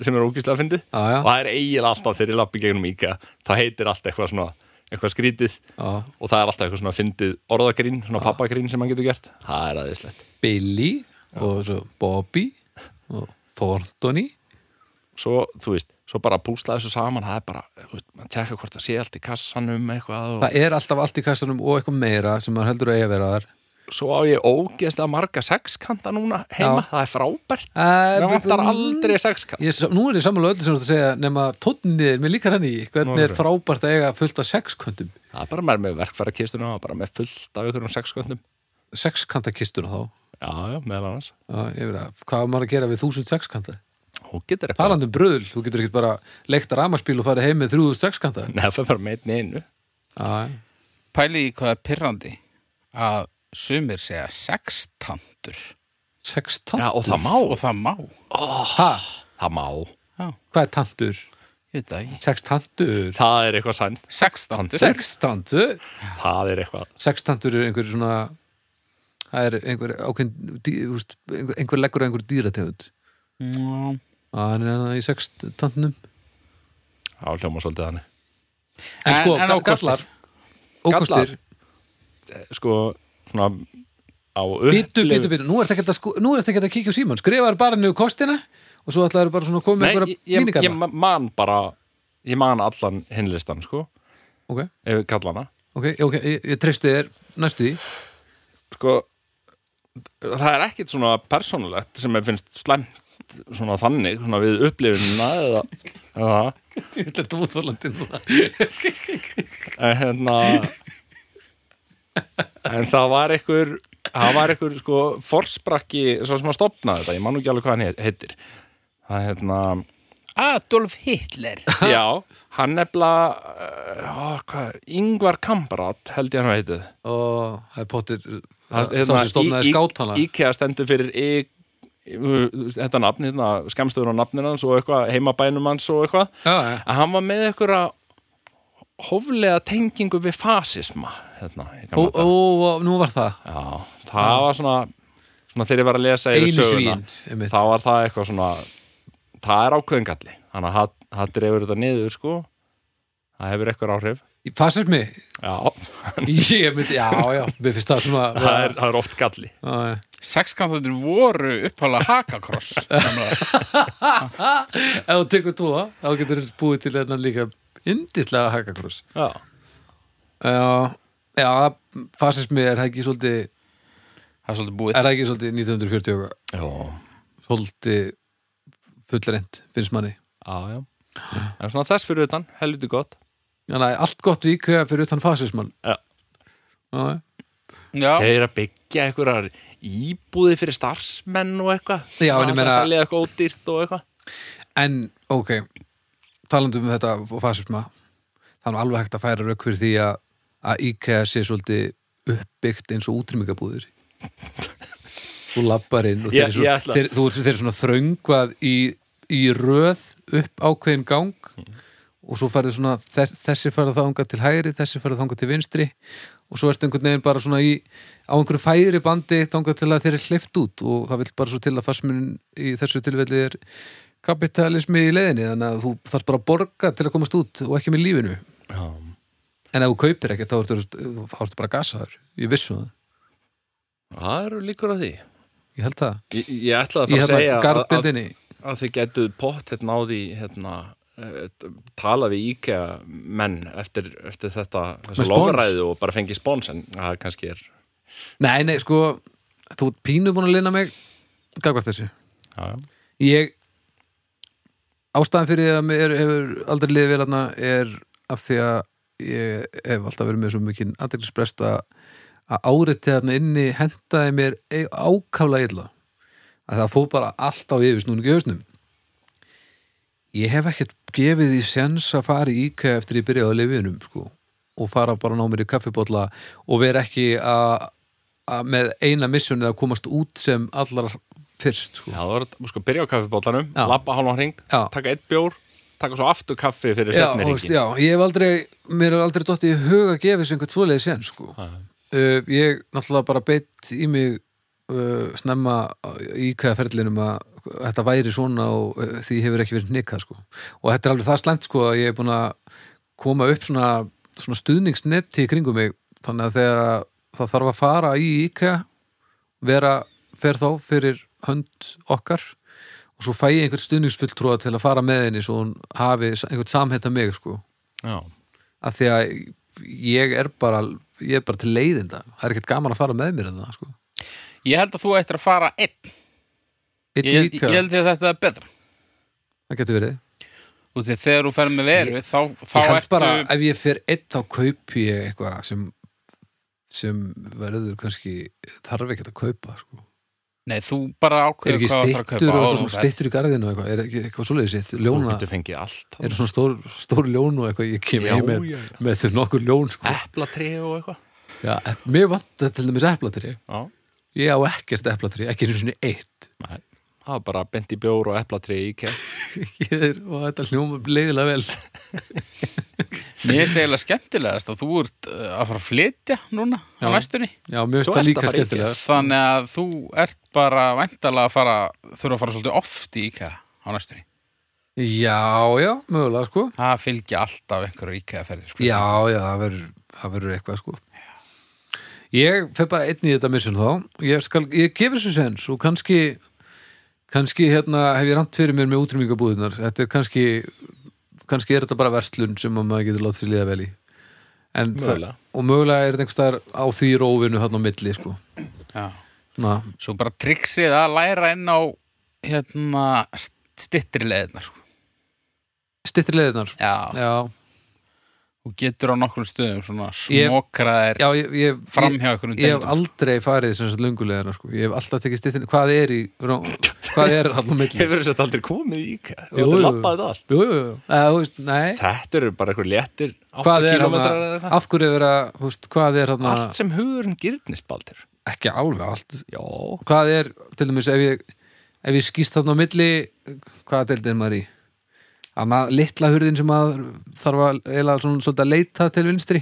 sem er ógíslega að fyndið
Já, já.
og það er eiginlega alltaf þegar ég lappi gegnum íka það heitir allt eitthvað svona eitthvað skrítið
Já.
og það er alltaf eitthvað svona fyndið orðagrín, svona pappagrín sem hann getur gert það er aðeinslegt,
Billy og svo Bobby og Thorntoni
svo þú veist svo bara púsla þessu saman, það er bara þú veist, maður tekka hvort það sé allt í kassanum eitthvað og
það er alltaf allt í kassanum og eitthvað meira sem maður heldur að eiga að vera þar
svo á ég ógeðslega marga sexkanta núna heima, það er frábært
Æ,
Mér
bú-
vantar
bú-
aldrei sexkant
Ég, nú er ég samanlega öllu sem þú ert að segja nema tónniðir, mér líkar hann í hvernig er frábært að eiga fullt af sexköndum
Það er bara með, með verkfæra kistuna og bara með fullt af ykkur um sexköndum.
sexkantakistuna þá
Já, já, meðal annars.
Já, ég veit að, hvað á maður að gera við þúsund sexkanta
Hún getur eitthvað.
talandi um bröðl, þú getur ekkert bara leikt ramaspíl og farið heim með þrjúðust sexkanta
Nei, það er bara með einn einu.
Já,
Pæli í hvað er pirrandi að sumir segja sextantur.
sextant
Já, og það má.
Og það má.
ha,
Það má.
Já,
hvað er tantur?
ég veit það ekki.
sextantur
Það er eitthvað sænst.
Sextantur.
sextantur
Það er eitthvað.
sextantur er einhver svona það er einhver ákveðin dý- þú veist, einhver, einhver leggur á einhver dýrategund
Já.
og hann er hann í sextantnum
Já, hljóma svolítið þannig.
en
En-
sko,
en
ga-
ókostir?
gallar ókostir,
Eh, Sko, svona á upplif.
bítu, bítu, bítu nú ert ekki að, sko, nú ert ekki að kíkja á síman skrifar bara niður kostina og svo ætlaður bara svona að koma með
Nei,
einhverja
ég, ég, ég
mínigalla
ma- man bara, ég man allan hinlistan, sko,
ok,
ef við kallana.
ok, já, ok, ég, ég treysti þér næstu því
Sko, það er ekkit svona persónulegt sem ég finnst slæmt svona þannig, svona við upplifinna eða, eða það.
Þetta er tóðþólandi núna
en hérna en það var einhver það var einhver sko forsprakki svo sem að stopna þetta, ég man nú ekki alveg hvað hann he- heitir það hérna
Adolf Hitler.
já, hann nefna uh, hvað, er, Ingvar Kamprad held ég hann að heitið
Og það er pottir
Það-
Sá sem stofnaði
hérna, í- í-
skátana
IKEA stendur fyrir í, í, þetta nafn, hérna, skamstöður á nafninu hans og eitthvað, heimabænum hans og eitthvað
Já, já.
að hann var með einhverja hóflega tengingu við fasisma hérna, í gamla
Ó,
daga.
ó, ó, nú var það
Já, það var svona, svona þegar ég var að lesa yfir
Einu
söguna
svín, einmitt.
þá var það eitthvað svona það er ákveðingalli þannig að það- það drefur þetta niður sko það hefur eitthvað áhrif
Fasismi
Já,
Ég myndi, já, já, mér finnst það svona
það er, það er oft galli
Já, já.
Sextantur voru upphála hakakross. nefnilega.
Ef þú tekur tvo, þá getur þú búið til hennan líka yndislega hakakross
Já,
Já, já, fasismi er það ekki svolítið
það er svolítið búið.
er það ekki svolítið 1940 og eitthvað?
já,
svolítið fullreint, finnst manni
já, já. En svona þess fyrir utan, helviti gott
Þannig að allt gott við íkveða fyrir utan fasismann
Já.
Já, já.
Já,
Þeir eru að byggja einhverjar íbúði fyrir starfsmenn og eitthvað
Já, en ég
Það er
meina-
að selja eitthvað ódýrt og eitthvað
En, ok, talandum um þetta og fasisma, þannig alveg hægt að færa rauk fyrir því að, að IKEA sé svolítið uppbyggt eins og útrýmingabúðir. Þú lappar inn og þeir,
Ég-
eru svona,
ég ætla-
þeir, þú, ert- þeir eru svona þröngvað í, í röð upp ákveðin gang og svo farið svona þess, þessi farið þangað til hægri, þessi farið þangað til vinstri og svo ertu einhvern veginn bara svona í á einhverju færi bandi þangað til að þeir eru hleyft út og það vil bara svo til að fasminin í þessu tilfelli er kapitalismi í leiðinni þannig að þú þarf bara að borga til að komast út og ekki með lífinu
Já,
en ef þú kaupir ekkert þá ertu, þá ertu bara gasaður ég vissu það,
það eru líkur á því
ég held það
Ég, ég ætla að
ég
fara að
held
segja
það
að- að
gardildinni
að þið getu pott hérna á því hérna, eh, tala við IKEA menn eftir, eftir þetta
Með
þessu
spons?
lofræðu og bara fengi spons en það kannski er
nei, nei, sko, þú ert pínu búin að lina mig gagvart þessu
já,
ég ástæðan fyrir því að mér hefur aldrei liðið vel hana er af því að ég hef alltaf verið með svo mikið aðdeglisbrest að að áriðtið þarna inni hendaði mér e- ákaflega illa að það fóð bara allt á yfir snúning í hausnum ég hef ekkert gefið því sens að fara í IKEA eftir ég byrjaði að lifinum sko, og fara bara að ná mér í kaffibólla og vera ekki að að með eina missunni að komast út sem allar fyrst sko.
Já, það var að sko, byrja á kaffibóllanum,
Já.
labba hálfan hring,
Já.
taka eitt bjór, taka svo aftur kaffi fyrir
já,
setni
þú veist,
hringin.
já, ég hef aldrei mér hef aldrei dottið í hug að gefa þessu einhvern svoleiði sen sko. uh, ég náttúrulega bara beitt í mig uh, snemma í hvaða ferlinum að þetta væri svona og uh, því hefur ekki verið hnikað sko. og þetta er alveg það slæmt sko, að ég hef búin að koma upp svona, svona stuðningsnetti í kringum mig þannig að þegar að það þarf að fara í IKEA vera fer þá fyrir hönd okkar og svo fæ ég einhvern stuðningsfulltrúa til að fara með henni svo hún hafi s- einhvern samhætt að mig sko.
Já.
af því að ég er bara ég er bara til leiðinda, það er ekkert gaman að fara með mér en það sko.
Ég held að þú ættir að fara einn
Einn
Ég, ég
líka,
held að þetta er betra
það getur verið
Þú veist, þegar þú fer með veru þá, þá
ég held
ertu
bara, ef ég fer einn þá kaupi ég eitthvað sem sem verður kannski þarf ekki að kaupa sko.
Nei, þú bara
er
ákveður
ekki
hvað þú ætlar að
stittur
kaupa
og eitthvað svona
áður en þú ferð.
stittur í garðinu og eitthvað, er ekki eitthvað svoleiðið sitt
Þú
ljóna,
getur fengið allt.
eru svona stór, stór ljón og eitthvað, ég kem
Já,
í með,
já, Eh.
með þeir nokkur ljón sko.
Eplatri og eitthvað.
Já, ep- mér vantar til dæmis eplatri
Já.
Ég á ekkert eplatri, ekki einu sinni eitt
Nei. Það var bara bent í bjór og eplatri í IKEA.
Ég er, og þetta hljóma leiðilega vel
Mér finnst eiginlega skemmtilegast að þú ert uh, að fara að flytja núna á
Já.
næstunni
Já, mér finnst
Þú
það
ert
líka
að fara í
skemmtilega
Þannig að þú ert bara væntalega að fara, þurfa að fara svolítið oft í IKEA á næstunni
Já, já, mögulega sko
Það fylgja alltaf einhverju IKEA ferðir sko.
Já, já, það verður, það verður eitthvað sko Ég fer bara einn í þetta missun þá Ég, skal, ég gefur þessu sens og kannski kannski hérna hef ég rant fyrir mér með útrýmingabúðunar Þetta er kannski kannski er þetta bara verslun sem að maður getur látið sér liða vel í En það-
Mögulega.
Og mögulega er þetta einhvers staðar á því rófinu hann á milli sko
Já.
Na,
Svo bara triksið að læra inn á hérna stittri leðnar sko.
Stittri leiðinar
Já,
Já,
þú getur á nokkrum stöðum svona
Ég-
smokraðir
já ég, ég,
fram
ég,
hjá einhverjum
ég hef
deildum, sko.
aldrei farið sem þess að lungulegina sko. Ég hef alltaf tekið stittri Hvað er í, ró- hvað er hann á milli?
Hefur þess að aldrei komið í IKEA.
Jú,
Þú ættir
jú.
labbað þetta allt.
Jú, jú, jú, eða, þú veist, nei
Þetta eru bara eitthvað léttir 8
Hvað er hann
kilometrar eða
að,
eitthvað.
af hverju er að, þú veist, hvað er hann
Allt
að
sem hugurinn gyrnist, Baldur.
Ekki alveg allt
Já.
Hvað er, til dæmis, ef ég ef ég skýst hann á milli hvað deildin maður í? Annað litla hurðin sem maður þarf að eila svona svolítið að leita til vinstri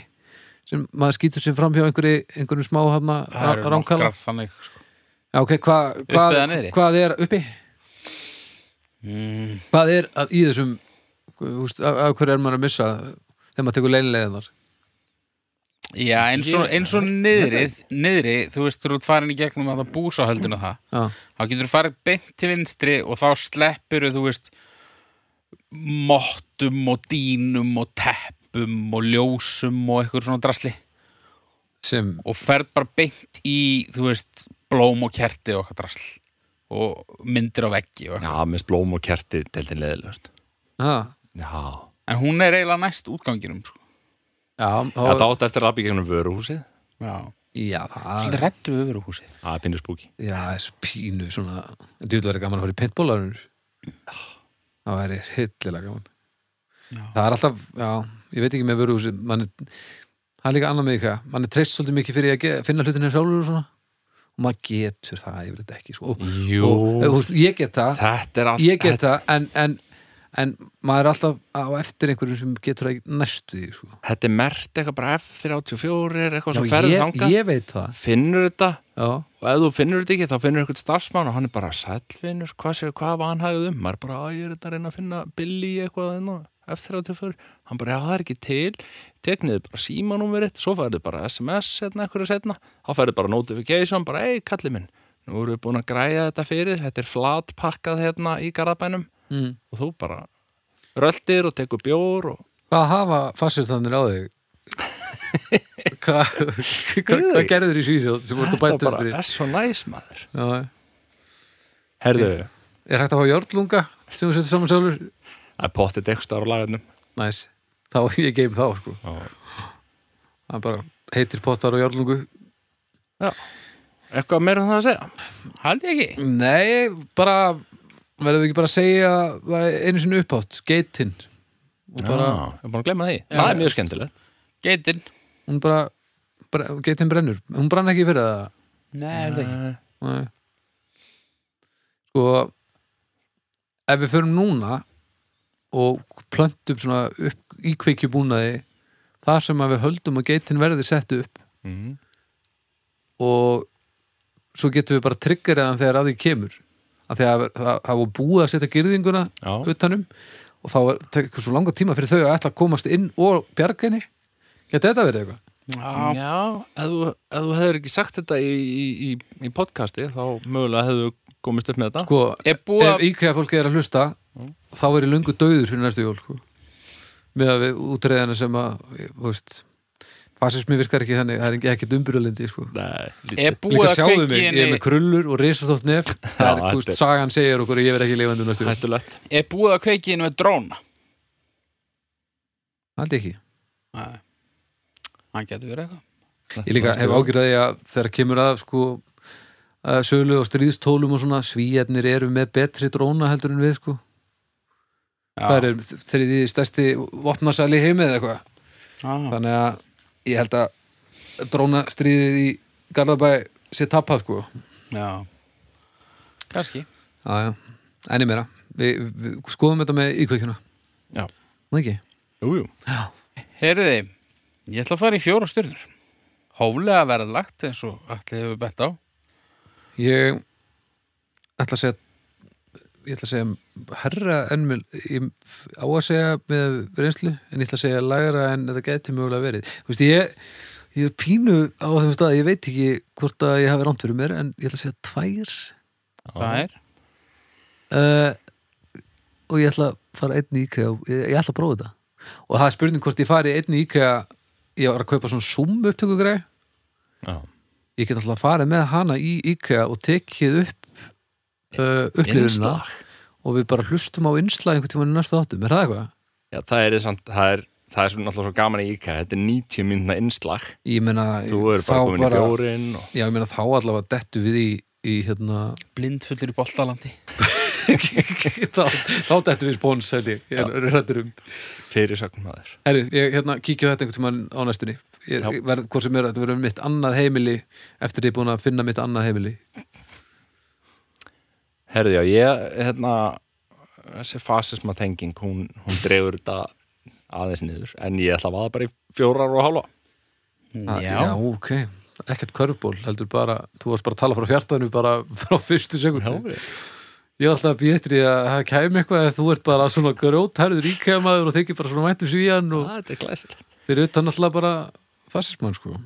sem maður skýtur sér fram hjá einhverju, einhverjum smá hann
Það
að
eru
ránkala
nokkrar þannig sko.
Já, ok, hva, hvað,
eða niðri?
hvað er uppi?
mm,
Hvað er að, í þessum húst, af, af hverju er maður að missa þegar maður tekur leiðinleiðinar?
Já, eins og, eins og niðri, niðri þú veist, þú ert farin í gegnum að það búsa hölduna það
Já,
þá getur þú farið beint til vinstri og þá sleppur þú veist mottum og dýnum og teppum og ljósum og eitthvað svona drasli
sem,
og ferð bara beint í þú veist blóm og kerti og eitthvað drasl og myndir á veggi og eitthvað.
Já, minnst blóm og kerti deildin leðilegust.
ha,
Já.
en hún er eiginlega næst útganginum sko.
já,
Já,
þá,
það átt eftir að labba í gegnum vöruhúsið.
já,
já, það
svolítið rættu við öfru húsið
Það er pínu spúki.
já, þessi pínu svona, þú vil vera gaman að fara í paintballarunur það væri hillilega gaman
Já.
það er alltaf, já, ég veit ekki með vöruhúsi mann er, það er líka annað með eitthvað mann er treyst svolítið mikið fyrir að ge- finna hlutin hér sjálfur og svona og maður getur það, ég vil þetta ekki
Mm.
sko. og,
Jú.
og, og, og, ég get það
Þetta er allt.
ég get það en, en, en maður er alltaf á eftir einhverjum sem getur það ekki næstu því sko.
Þetta er mert eitthvað bara F34 er eitthvað sem
Já,
ferður
ég,
þangað.
ég veit það
Finnur þetta
já,
og ef þú finnur þetta ekki þá finnur eitthvað starfsmann og hann er bara sælvinur, hvað séu, hvað var hann hægðið um? Maður er bara, að ég er þetta að reyna að finna Billy eitthvað þinn F34. Hann bara, já það er ekki til. Tekniði bara símanúmerið, svo færðu bara SMS hérna eitthvað setna. Þá færðu bara notification, bara, ei kallið minn. Nú erum við búin að græja þetta fyrir, þetta er flatpakkað hérna í garabænum
mm.
og þú bara röltir og tekur bjór og
hvað hafa fassistannir á þig? Hva, hva, hvað gerður í Svíþjóð sem voru að
þetta
bæta
bara
fyrir?
er svo næs maður
Já,
Herðu,
er hægt að fá jörglunga sem þú setur saman sjálfur?
Það er pottið dekstar á lagarnum
næs þá ég geim þá sko það bara heitir pottar og járlungu
Já. Eitthvað meira en það að segja
Haldi ekki?
nei, bara verðum við ekki bara að segja það einu sinni upphátt, geitinn og bara,
Ég er búin að glemma því Það er mjög skemmtilegt
Geitin?
hún bara bre, geitinn brennur, hún brann ekki fyrir það
Nei, haldi ekki
Nei. Sko ef við förum núna og plöntum svona upp íkveikjubúnaði þar sem að við höldum að geitin verði sett upp
Mhm.
og svo getum við bara triggeraðan þegar að því kemur að þegar það, það var búið að setja gyrðinguna
Já.
utanum og þá er- tekur svo langa tíma fyrir þau að ætla að komast inn og bjarginni geti þetta verið eitthvað?
Já,
Já, ef þú, ef þú hefur ekki sagt þetta í, í, í, í podcasti þá mögulega hefur þú komist upp með þetta
Sko,
Er búið
ef
að-
íkveða fólki er að hlusta þá er ég löngu döður fyrir næstu jól sko. með að við útreðana sem að þú veist fasismi virkar ekki þannig, það er ekki umbyrjulindi sko.
Nei,
Er
lítið
líka
búið að
sjáðu mig,
kveiki
ég er
henni
með krullur og risastótt nef það er,
Já,
þú veist,
þetta er-
sagan segir okkur að ég verð ekki lifandi um næstu jól,
Hættulegt
Er búið að kveiki henni með dróna?
held ég ekki
Nei Hann getur verið eitthvað
ég líka hef ágjörði að þegar kemur að sko að sölu og stríðstólum og svona svíjarnir eru með betri dróna heldur en við sko það er þriði stærsti vopnasæli heimi eða eitthvað
er
þannig að ég held að drónastríðið í Garðabæ sé tappað sko
Já Kanski
já, já. enni meira við, við skoðum þetta með íkveikjuna
Já.
Nú ekki?
Jú, jú
Heyriði, ég ætla að fara í fjóra styrnur Hóflega verða lagt eins og allir hefur bett á
ég ætla að segja ég ætla að segja herra en mjöl ég á að segja með reynslu en ég ætla að segja lagra en þetta gæti mögulega verið þú veist ég ég er pínu á þeim stað ég veit ekki hvort að ég hafi rámt fyrir mér en ég ætla að segja tvær
Það er
uh, og ég ætla að fara einn í IKEA og ég, ég ætla að prófa þetta og það er spurning hvort ég fari einn í IKEA ég var að kaupa svona Zoom upptöku grei
Já.
ég get alltaf að fara með hana í IKEA og tekið upp uh, upplifunina
Innslag.
og við bara hlustum á innslag einhvern tímann í næstu áttum, er það eitthvað?
Já, það er, samt, það er, það er svona alltaf svo gaman í IKEA Þetta er 90 minna innslag
Ég meina,
Þú eru bara komin í bjórin og...
já, ég meina þá allavega dettu við í, í hérna
blindfullir í boltalandi
þá, þá dettu við spóns held ég, ég er rættur um
fyrirsögn maður
Herri, ég hérna kíkja á þetta einhvern tímann á næstunni ég,
Já.
ég verð, hvort sem er, þetta verður mitt annað heimili eftir ég er búin að finna mitt annað heimili
Herði já, ég, hérna þessi fasisma tenging, hún, hún dregur þetta aðeins niður en ég ætla að vaða bara í fjórar og hálfa
Ah, já, ok, ekkert körfból heldur bara, þú varst bara að tala frá hjartanu bara frá fyrstu sekundu ég er alltaf að býða eftir því að það kæmi eitthvað að þú ert bara svona grjótherður íkæmaður og þykir bara svona væntum svíjan og
þetta er glæsilegt
þeir eru utan alltaf bara fasismann sko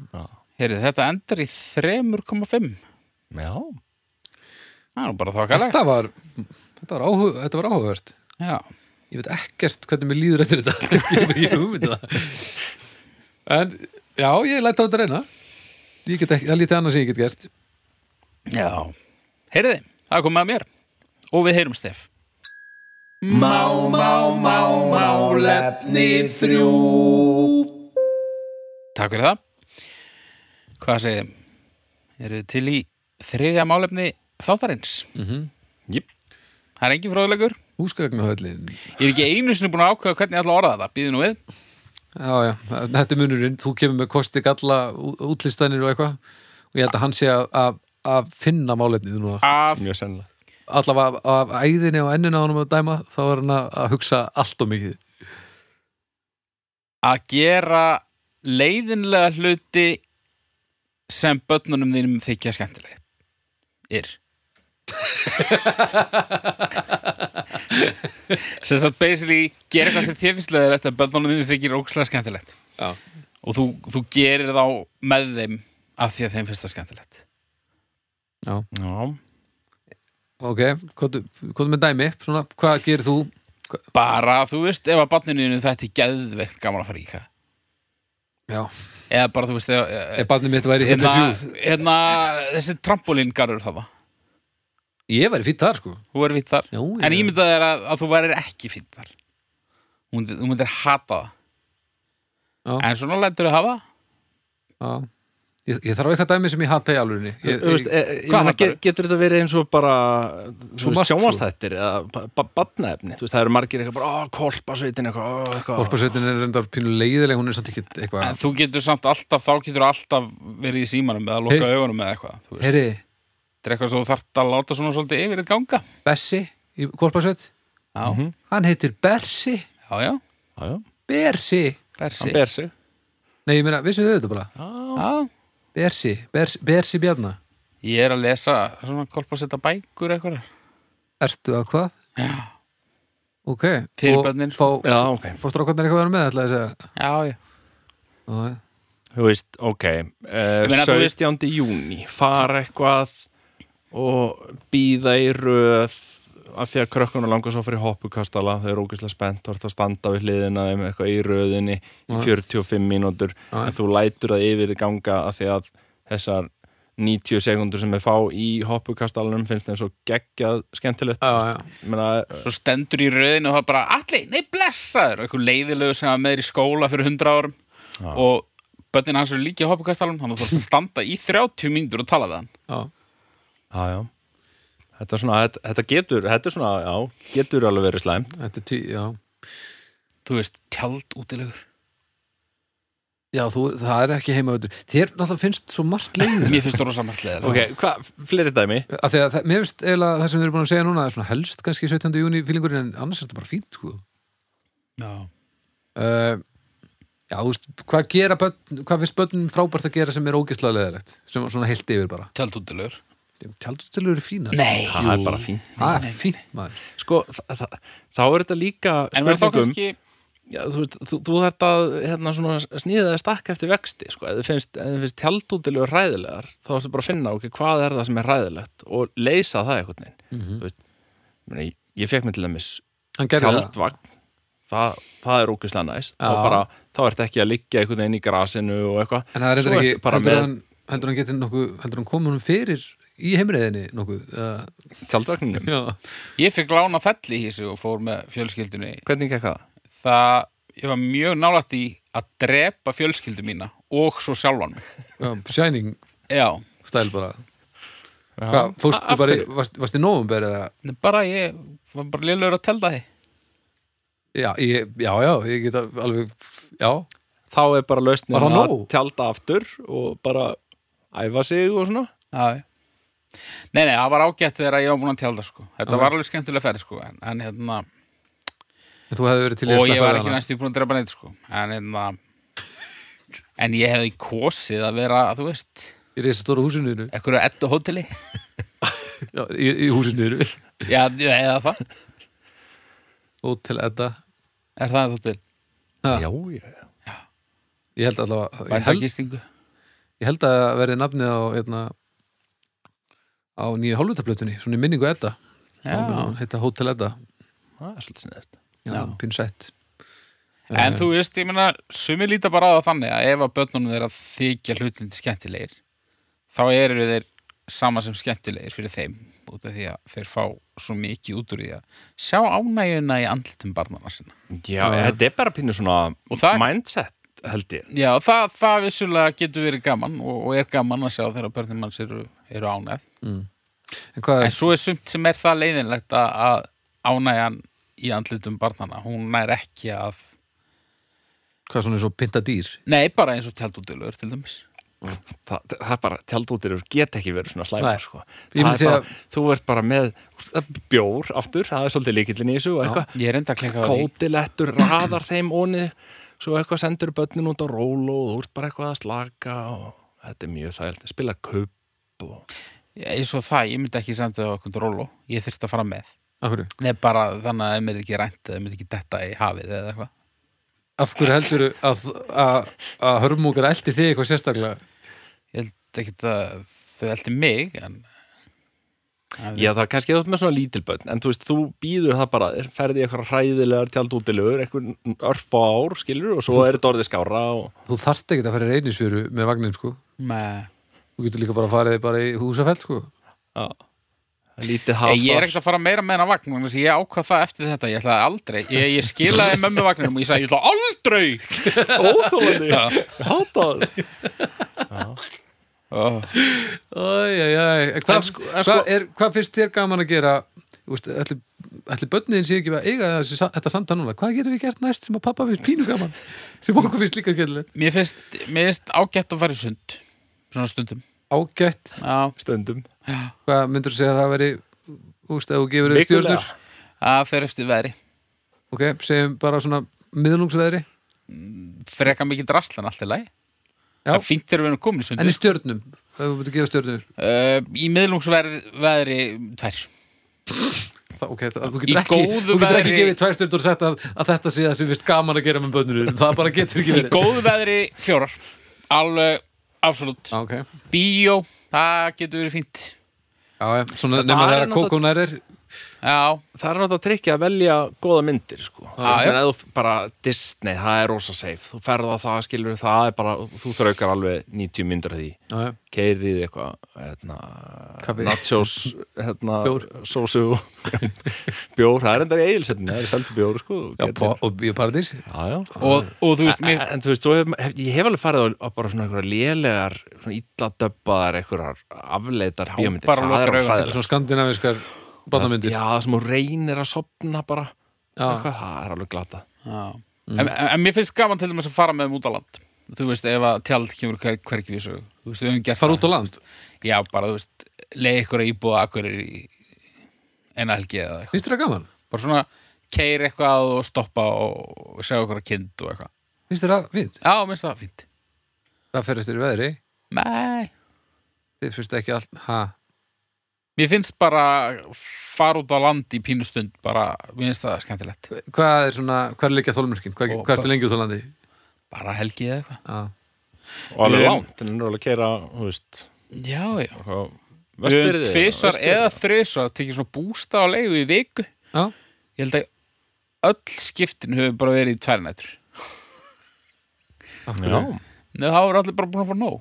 Heyrið, þetta endar í 3,5
Já,
Það er nú bara þokkalegt
þetta var, þetta var, áhuga, þetta var áhugavert
Já,
ég veit ekkert hvernig mér líður eftir þetta ég hef ekki hugmynd um það en já, ég læt á þetta reyna ég get ekki, það er lítið annars sem ég get gert
já Heyriði, það er komið að mér og við heyrum Stef
Má, má, má, málefni þrjú
Takk fyrir það Hvað segið þið? Eruð þið til í þriðja málefni þáttarins?
mm -hmm.
jip,
Það er engin fróðlegur
húsgagnahöllin já,
Ég er ekki einu sinni búin að ákveða hvernig ég ætla að orða þetta Býðu nú við
já, þetta er munurinn, þú kemur með kosti galla ú- útlistanir og eitthvað og ég held að hann sé að, að, að finna málefnið núna,
Af,
mjög sennilega
allavega af, af æðinni og ennina á honum að dæma, þá er hann að, að hugsa allt og mikið
að gera leiðinlega hluti sem börnunum þínum þykja skemmtileg er sem sagt basically gera eitthvað sem þér finnst leðilegt að börnunum þínum þykir ókslega skemmtilegt
Já.
og þú, þú gerir þá með þeim af því að þeim finnst það skemmtilegt
Já,
ok, hvað er með dæmi svona, hvað gerir þú
bara þú veist ef að barninu þetta er geðveikt gaman að fara í hvað
já,
eða bara þú veist eða,
ef barnið mitt væri hérna
hérna,
sjúð
hérna, þessi trampolíngarur það
ég væri fýtt þar sko
þú er vitt þar
Já,
En
ég-
ímyndað er að, að þú værir ekki fínn þar Þú myndir- þú myndir hata það
Já.
en svona lætur þau hafa
Já. Ég, ég þarf eitthvað dæmi sem ég hata í alvörinni
Þú veist,
ég,
e- e- ég
Hvað
meina,
hattar
ge-
þú?
getur þetta verið eins og bara
Svo margt, sko.
sjónvastættir eða badnaefni, þú veist, það eru margir eitthvað bara, ó, kolpasveitin eitthvað, ó, eitthvað
Orparsveitin er reyndar pínu leiðileg hún er samt ekki
en
eitthvað
þú getur samt alltaf, þá getur alltaf verið í símanum eða loka
Hey.
augunum eða eitthvað þú veist.
Heyri,
þetta er eitthvað sem þú þarft að láta svona svolítið yfir þetta ganga
Bessi í Orparsveit
já,
hann heitir Bersi
já, já,
Já, já,
Bersi
bersi
hann ber sig
Nei, ég meina, vissu þau þetta bara?
já,
Bersi, Bersi, Bersi Bjarna
ég er að lesa svona kolpasetta bækur eitthvað
Ertu að hvað?
já,
Ok
Fyrir
Og
börnin, sko.
Fá,
Já, ok.
fá strákarnir eitthvað að vera með ætla þess að
já, já
segja.
Þú veist, ok
meina,
uh,
þú veist-
17. júni fara eitthvað og býða í röð af því að krökkunum langar svo fyrir hoppukastala þau eru ógeðslega spennt, þú ert að standa við hliðina á þeim eitthvað í röðinni í 45 mínútur, en þú lætur að yfir þig ganga af því að þessar 90 sekundur sem við fá í hoppukastalanum finnst þeim svo geggjað skemmtilegt
Já, já.
Menna,
svo stendur í röðinu og það bara allir, nei blessaður, eitthvað leiðilegu sem var með þér í skóla fyrir hundra árum og börnin hans eru líka í hoppukastalum þannig að þú þarf að standa í 30 mínútur og tala við hann
Já,
já, já. Þetta, er svona, þetta, þetta getur þetta er svona, já, getur alveg verið slæmt
þetta er tí, já
þú veist, tjald útilegur
Já, þú, það er ekki heimavöldur Þér náttúrulega finnst svo margt leiðilegt
mér finnst þú rosa margt leiðilegt
Ok, hvað, fleiri dæmi?
Af því að það, mér finnst eiginlega það sem við erum búin að segja núna er svona helst kannski 17. júni fílingurinn en annars er þetta bara fínt sko.
Já.
uh, Já, þú veist, hvað gera börn, hvað finnst börnum frábært að gera sem er ógeðslega leðilegt sem svona heilt yfir bara
tjald útilegur
Tjaldurtilur eru fínar
nei,
Það er bara fínt
Það er fínt maður
Sko, þa þa þá er þetta líka
en verður þá
spurningum
kannski
já, Þú, veist, þú, þú þarft að hérna, svona, sníða það stakk eftir vexti sko. eða finnst, ef þið finnst tjaldútilegu ræðilegar þá ertu bara að finna ok, hvað er það sem er ræðilegt og leysa það einhvern veginn mm -hmm. veist, meni, ég, ég fekk mér til dæmis
Hann gerði það
tjaldvagn það, það er ókvæslega næst þá,
Já.
bara, þá ertu ekki að liggja einhvern veginn í grasinu og eitthvað
En það er
Svo
reyndar
ertu
ekki,
bara
heldur
með
hann, heldur hann getið nokkuð, heldur hann komið honum fyrir í heimreiðinni nokkuð uh,
tjaldvagninu
Já,
ég fikk lána felli í þessu og fór með fjölskyldunni
Hvernig gekk það?
það, ég var mjög nálægt í að drepa fjölskyldu mína og svo sjálfan mig
um, Shining
já,
stæl bara
Já.
Hvað, fórstu
Af
bara, í-
hverju?
varst, varst í november eða
bara ég var bara lélegur að telda því
Já, ég, já, já, ég get að- alveg Já,
þá er bara lausnin
Var það
að
nóg?
tjálta aftur og bara æfa sig og svona
Já, já. Nei, nei, það var ágætt þegar ég var búin að tjálda sko. Þetta var alveg skemmtilega ferð sko. en, en, hérna,
en þú hefði verið til í að
og ég
sleppa
var
við
ekki
hana.
næstu búin að drepa neitt sko. en, hérna, en ég hefði kosið að vera, þú veist
Í reysa stóra húsinu þínu.
ekkur að ettu hóteli
já, í, í húsinu þínu.
Já, eða það
Hótel Edda
Er það þóttil?
Ha.
já, já.
Ég held allavega ég held,
Bændakistingu?
ég held að verði nafnið á hérna, á nýju hálfutaplötunni svona í minningu Edda
Já.
Heita Hótel Edda
það er svolítið sniðt
Já,
Já.
pinsett
En þú veist, ég meina, sumi líta bara á það þannig að ef að börnunum þeirra þykja hlutlindi skemmtilegir þá eru þeir sama sem skemmtilegir fyrir þeim út af því að þeir fá svo mikið út úr því að sjá ánægjuna í andlitum barnana sinna.
já, þetta er bara pínu svona
Og það-
mindset held ég
Já, það, það vissulega getur verið gaman og, og er gaman að sjá þegar börnum manns eru, eru ánægð.
En hvað
En svo er sumt sem er það leiðinlegt að, að ánægjan í andlitum barnana, hún nær ekki að
hvað svona er svo pinta dýr
Nei, bara eins og tjaldútilur til dæmis.
Þa, það er bara, tjaldútirir get ekki verið svona slæmar
Nei.
sko.
Ég myndi
Það er bara,
segja-
þú ert bara með bjór aftur, það er svolítið líkillin í þessu og eitthvað,
Ég er enda að klika á því.
kótilettur raðar þeim ónið, svo eitthvað sendur börnin út á rólu og þú ert bara eitthvað að slaka og þetta er mjög þægilt spila kupp og
Ég svo það, ég myndi ekki senda það okkur rólu. Ég þyrfti að fara með.
af hverju?
Nei, bara þannig að þeim er ekki rænt eða þeim er ekki detta í hafið eða eitthvað.
af hverju heldur að, að, að hörmungar eldi þig eitthvað sérstaklega
Ég held ekki að þau eldi mig, en... en
Já, það er kannski þátt með svona lítilbönn, en þú veist, þú býður það bara, þér ferði eitthvað hræðilegar tjaldútilegur, eitthvað örf á ár, skilur, og svo er þetta orðið skára og...
þú þarft ekki að fara í reynisfjöru með vagnin sko
Með...
þú getur líka bara að fara þig bara í húsafell sko
Já. lítið
Ég,
hafar
ég er ekkert að fara meira með hennar vagn þannig að ég ákvað það eftir þetta, ég ætlaði aldrei ég, ég skilaði mömmu vagninum og ég sagði ég ætla aldrei
óþólandi,
Já.
hata það
oh.
Æjæjæj,
En
hvað
sko-
sko, hva
en sko-
hva finnst þér gaman að gera? Úst, ætli, ætli bönniðin sé ekki að eiga þessi, sa- þetta samtal núna? Hvað getum við gert næst sem að pappa finnst pínu gaman? Sem okkur finnst líka skemmtilegt.
Mér finnst, mér finnst ágætt að fara í sund svona stundum
Ágætt,
Já,
stundum
hvað myndur þú segja að það veri úst, að þú gefur auð stjörnur?
Vikulega.
að fer eftir veðri
Ok, segjum bara svona miðlungsveðri
freka mikið drastlan allt í lagi
Já.
Það er fínt þegar við erum komin í sund
en í stjörnum, ef þú myndir gefa stjörnur
uh, Í miðlungsveðri tvær
Þa, ok, það, þú
Í
getur ekki,
góðu
þú getur ekki
veðri-
gefið tvær stjörnur og sett að, að þetta sé það sem finnst gaman að gera með bönnunum það bara getur ekki
Í
verið
góðu veðri fjórar Alveg, absolutt
Já, Ah, ok,
Bíó, það getur verið fínt
já, já, svona nema
er
þegar að
náttúrulega-
kókónærir
Já,
það er náttúrulega tryggja að velja góða myndir sko.
Ah, já.
það er eða bara Disney það er rosa safe, þú ferð á það skilur það er bara, þú þraukar alveg 90 myndir af því,
Já,
Ah,
já,
keirið eitthvað hérna,
Kaffi.
nachos hérna,
Bjór.
sósu bjór, það er enda í eilsetinu það er seldu bjór sko,
já,
Getur-
po- og bíóparadís
já, já.
og, og þú veist
En,
mér
en þú veist, þú hef, hef, ég hef alveg farið á, á bara svona einhverja lélegar, svona illadöbbaðar einhverjar afleitar bíómyndir
bara
það
lokar
er alveg
augun.
hræðilegt.
svona skandinaviskar barnamyndir
Já, það sem hún reynir að sopna bara
Já.
eitthvað, það er alveg glata
en, en, en mér finnst gaman til dæmis að fara með þeim út á land Þú veist, ef að tjald kemur hver, hverki við sögu Þú veist, við höfum gert
fara út á land,
það Já, bara, þú veist, leið ykkur að íbúa akkur í enn helgi eða eitthvað
finnst þér það gaman?
Bara svona keir eitthvað og stoppa og segja okkur að kind og eitthvað
finnst þér það fínt?
Já, minnst það fínt
það fer eftir veðri,
Nei
þið finnst ekki allt ha,
Mér finnst bara fara út á land í pínustund bara, mér finnst það skemmtilegt
hvað er svona, hvað er líka þólmörkin? hvað,
Og-
hvað ertu lengi út á landi?
bara helgi eða eitthvað
Já.
og alveg
Við-
langt, en hún er alveg að keira þú veist,
Já, já Við höfum
vestfyrði
tvisvar eða þrisvar tekið svona bústa á leigu í viku
Já.
Ég held að öll skiptin hefur bara verið í tvær nætur
Af
já,
hverju?
Nei, það voru allir bara búin að fá nóg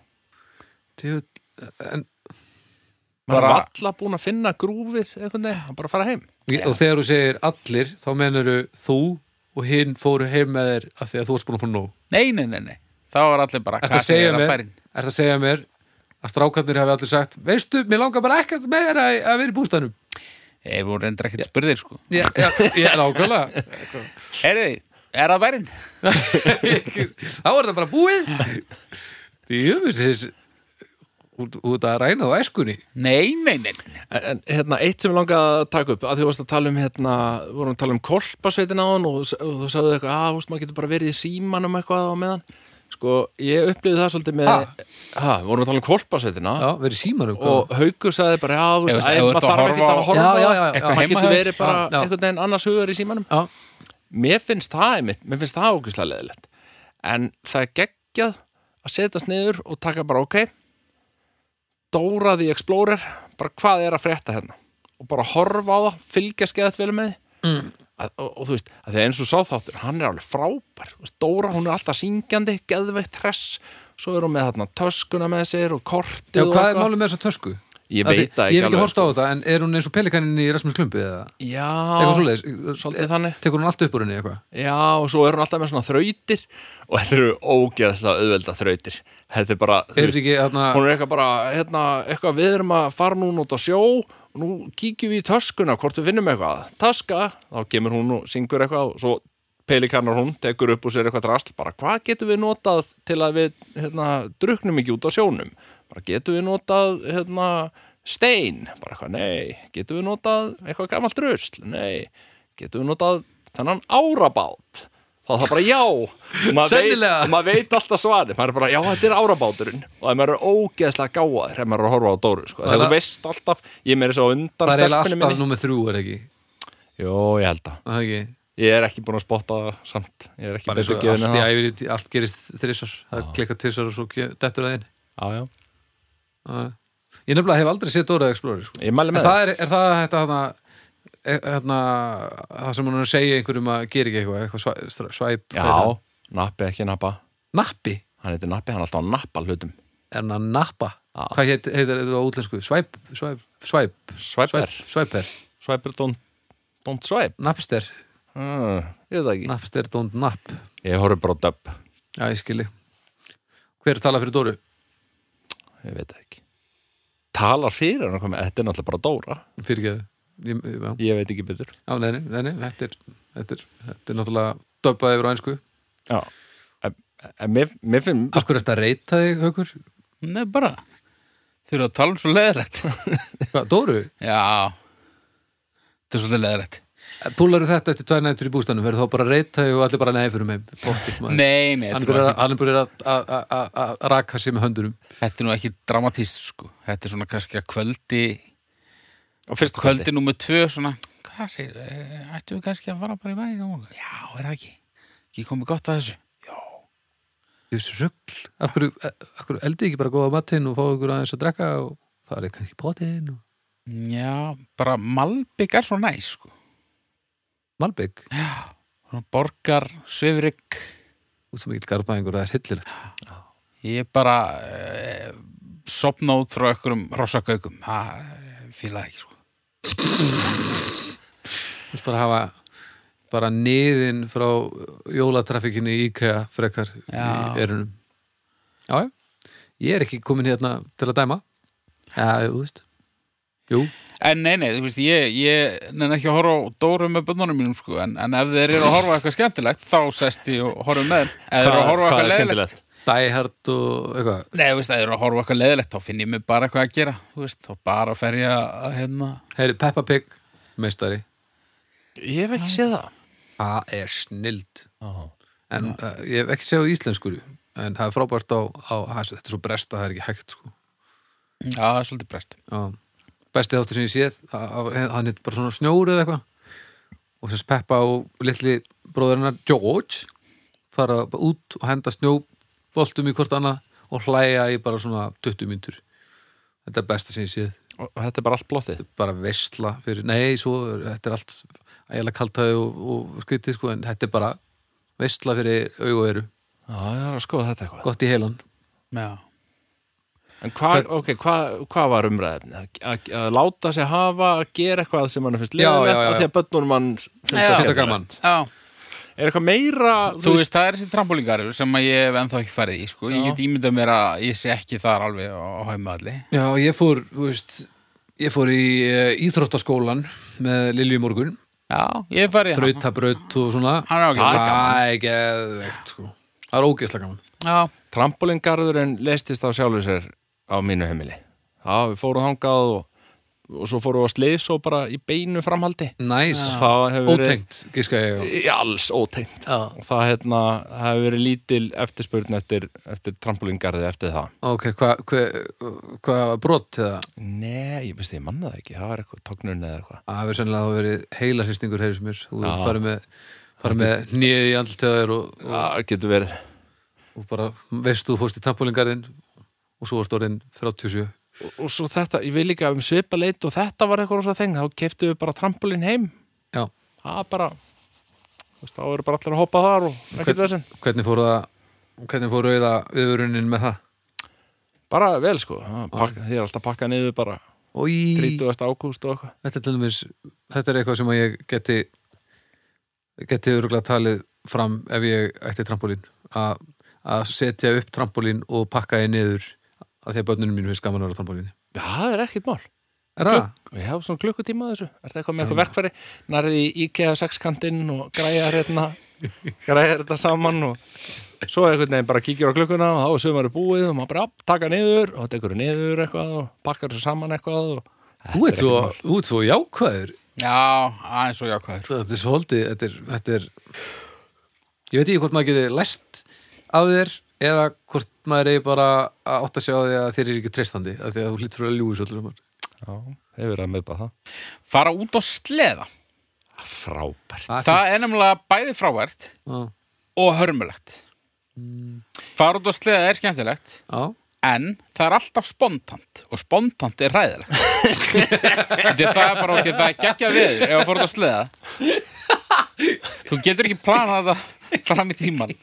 Djú- en,
maður
Bara-
er alla búin að finna grúfið eitthvað nefn, bara að fara heim
Ég- og þegar þú segir allir þá menuru þú og hinn fóru heim með þér af því að þú varst búin að fóra nóg
Nei, nei, nei, nei Það voru allir bara
Ertu að
kassi
segja
er
mér,
bærinn.
ertu að segja mér að strákarnir hafi allir sagt veistu, mér langar bara ekkert með þér að, að vera í bústanum
Þeir voru reyndar ekkert spurðir sko
Já, já, já, nákvæmlega
Heyriði, er það bærin?
Þá er það bara búið Djöfisins út, út að ræna á æskunni
Nei, nei, nei, nei
en, en hérna, eitt sem ég langaði að taka upp að því varst að tala um, hérna, vorum að tala um kolpasveitin á hann og, þú- og þú sagði eitthvað, að, veist, maður getur bara verið í símanum eitthvað á meðan sko, ég upplýði það svolítið með,
Ha?
ha, vorum að tala um kolpasveitina
Já, verið símanum hvað?
og Haukur sagði bara já, þú
Ég
veist,
veist, ef
æ,
þú
maður
ert að
þarf
horfa
ekki
á-
að horfa á
Já, já, já,
það
já.
maður
Heima
getur
hjá-
verið bara
Já, já.
einhvern veginn annars hugar í símanum
Já,
mér finnst það einmitt, mér finnst það ógæslega leðilegt en það er geggjað að setjast niður og taka bara ok Dóra the Explorer bara hvað er að frétta hérna og bara horfa á það, fylgja skeðat vel með mm. að, og, og þú veist, að því að eins og sáþáttur hann er alveg frábær, Þú veist, Dóra hún er alltaf syngjandi, geðveitt hress svo er hún með þarna töskuna með sér og kortið
já
og
hvað er
eitthvað.
málið með þessa tösku?
Ég
Af því-
veit það ekki
Ég hef ekki
alveg, sko.
hort á þetta, en er hún eins og pelikanin í Rasmus Klumpi eða? Eitthvað
Já,
svoleiðis?
svolítið þannig
Tekur hún allt upp úr henni eitthvað?
Já, og svo er hún alltaf með svona þrautir og þetta eru ógeðslega auðvelda þrautir Þetta er bara, þú
Er
veist,
þetta ekki þarna
hún er eitthvað bara hérna, eitthvað við erum að fara núna út á sjó og nú kíkjum við í töskuna hvort við finnum eitthvað, taska þá kemur hún og syngur eitthvað og svo pelikanar hún, tekur upp úr sér eitthvað drasl bara hvað getum við notað til að við hérna, druknum ekki út á sjónum bara getum við notað hérna, stein, bara eitthvað nei getum við notað eitthvað gamalt drusl nei, getum við notað þennan árabát þá er það bara já maður
Sennilega.
veit, maður veit alltaf svarið maður er bara, já þetta er árabáturinn og það maður er ógeðslega gáðar þegar maður er að horfa á Dóru sko.
er
þegar
það-
þú veist alltaf, ég meiri svo
Það er
undan
eiginlega
stelpunni
alltaf
minni
nummer þrjú, er ekki?
Jó, ég held að,
Er það ekki?
ég er ekki búin að spotta það samt, ég er ekki
Bara eins
búin
og
að gefa
allt í
henni það
æfiri, allt gerist þrissar Það klikkar tvissar og svo kjö- dettur það inn
Já, já.
Já. Ég nefnilega hef aldrei séð Dora Explorer sko.
ég mæli
En
með það
það er, er það þetta hana, er, hana, það sem hún er að segja einhverjum að gera ekki eitthvað, eitthvað svæ- stra- svæp hvað er það?
já, nappi ekki nappa
Nappi,
hann heitir nappi, hann er alltaf að nappa hlutum
er hann að nappa Hvað heit, heitar þetta á útlensku? Svæp, svæp, svæp, svæp,
Svæper,
svæper
svæper don't, don't swipe
Napster,
uh, Ég veit það ekki
napster don't nap
Ég horfði bara á dub,
Já, ég skilji Hver talar fyrir Dóru?
ég veit það ekki Talar fyrir hann að koma, þetta er náttúrulega bara Dóra
Fyrirgeðu Ég- ég- Já,
Ég veit ekki betur
Já, nei, nei, nei, nei, þetta er, þetta er, þetta er náttúrulega döbbað yfir á einsku
Já, en, en mér, mér finn
Af hverju ertu að reyta þig, Haukur?
Nei, bara Þau eru að tala um svo leðilegt
Hvað, Dóru,
Já Þetta er svolítið leðilegt
púlaru þetta eftir tvær nættur í bústanum verður þá bara að reyta þig og allir bara neði fyrir mig
Nei, nei,
Hann
þetta
byrjar
er,
að- hann byrjar að- að- að- að að raka sér með höndunum
ekki, þetta er nú ekki dramatist sko. Þetta er svona kannski að kvöldi
á fyrsta
Kvöldi númer tvö svona Hvað segir, eh, ættum við kannski að fara bara í bæði á morgun? Já, er það ekki Ekki komið gott að þessu
Þessu rugl, af hverju, af hverju eldi ekki bara góða matinn og fá ykkur aðeins að drekka og það er kannski potinn og
Já, bara Malbygg er svo næs sko.
malbygg
Já, svona borgar, svifrik
út sem ekki garbaðingur, það er hillilegt
Ég er bara eh, sopna út frá einhverjum rossakaukum Það fíla það ekki sko.
Þú veist bara að hafa bara niðin frá jólatraffikinni í IKEA frekar
Já.
í erunum Já, já, ég er ekki komin hérna til að dæma Já, þú veist Jú,
En nei, nei, þú veist, ég, ég nenni ekki að horfa á Dóru með bönnunum mínum sko, en, en ef þeir eru að horfa á eitthvað skemmtilegt þá sest ég og horfa með þeim Ef þeir eru að horfa á
Hvað
eitthvað
er
leðilegt
skemmtilegt?
dæhært og eitthvað
Nei, þú veist, ef þeir eru að horfa á eitthvað leðilegt þá finn ég mig bara eitthvað að gera þú veist, þá bara fer ég að hérna
Heyri, Peppa Pig, meistari
Ég hef ekki séð það
Það er snild
Já.
En uh, ég hef ekki séð á íslensku En það er frábært á, á á- Þetta er svo bresta, það er ekki hægt sko.
Já, það er svolítið brest
Já. Besti þáttur sem ég séð að- að- Hann heit bara svona snjóri eða eitthvað Og þess Peppa og litli bróðurinnar George fara bara út og henda snjóboltum í hvort annað og hlæja í bara svona 20 myndur Þetta er besta sem ég séð
Og og þetta er bara allt blottið
bara vesla fyrir, nei, svo er- þetta er allt ægilega kaltaði og, og skrítið sko, en þetta er bara vesla fyrir aug og eru,
Já, ég er að skoða þetta eitthvað
gott í heilan
Já,
En hvað, ok, hvað hva var umræðefni? Að að láta sig hafa að gera eitthvað sem hann finnst
Já, já,
leðilegt
já,
af því
já.
að börnunum hann
Já.
finnst það
Fyrsta
skemmtilegt.
gaman
já
Er eitthvað meira,
Þú veist, það er þessi trampolíngarur sem að ég hef ennþá ekki farið í, sko. Ég
Já.
get ímyndað mér að ég sé ekki þar alveg á á hæmi allir.
Já, ég fór, þú veist ég fór í uh, íþróttaskólan með Lilju í morgun,
Já, ég hef farið í hana.
þrautabraut og svona
Hann er ágætlega gaman.
Það er geðveikt sko Það er ógeðslega gaman
Já,
trampolingarðurinn leistist á sjálfur sér á mínu heimili Já, við fórum þangað og, og svo fórum við á slis og bara í beinu framhaldi
Næs,
Það hefur verið-
ótengt, gíska ég á.
Í alls ótengt
Já.
og það hérna, það hefur verið lítil eftirspurn eftir, eftir trampolingarði eftir það
Ok, hvað hva, hva var brot eða?
Nei, ég veist ég manna það ekki, það var eitthvað tognun eða eitthvað
Það hefur sennilega hafa verið heilarhristingur heyrðis mér Þú
Já.
farið með, farið með nýðið í andlutöðar og, og,
Það getur verið
og bara veist þú fórst í trampolingarðin og svo varst orðin 37
og, og svo þetta, ég vil líka um svipa leit og þetta var eitthvað rosa þeng, þá keftu við bara trampolin heim,
Já,
það er bara þú veist, þá eru bara allir að hoppa þar og ekkert veginn,
hvernig fór það hvernig fór rauða viðvörunin með það?
bara vel sko Það pakka, því er alltaf pakka niður bara
Í,
30. ágúst og eitthvað
þetta, er til dæmis, þetta er eitthvað sem að ég geti geti örgulega talið fram ef ég ætti trampolín að að setja upp trampolín og pakka ég niður að því að börnunum mínu finnst gaman að vera á trampolíni
Já, það er ekkert mál
Er það?
Ég hef svona klukkutíma að þessu, er eitthvað með eitthvað verkfæri nærið í IKEA sexkantinn og græjar hérna græjar þetta saman og svo einhvern veginn bara kíkir á klukkuna og þá er sömari búið og maður bara upp, taka niður og tekur niður eitthvað og pakkar þessu saman eitthvað og
Þú ert svo, þú ert svo jákvæður
já, aðeins og jákvæður.
Þetta er svolítið, þetta er, þetta er ég veit ekki hvort maður geti lært af þér eða hvort maður er bara að átta sig á því að þér er ekki treystandi af því að þú hlýtur að ljúi svolítið um hann
Já, hefur verið að meita það
Fara út á sleða.
Frábært
Það er nefnilega bæði frávært
Já,
og hörmulegt. Fara út á sleða er skemmtilegt,
já,
en það er alltaf spontant og spontant er ræðilegt. Því að það er bara okkur, það er geggja viður ef að fara út á sleða. Þú getur ekki planað þetta fram í tíman.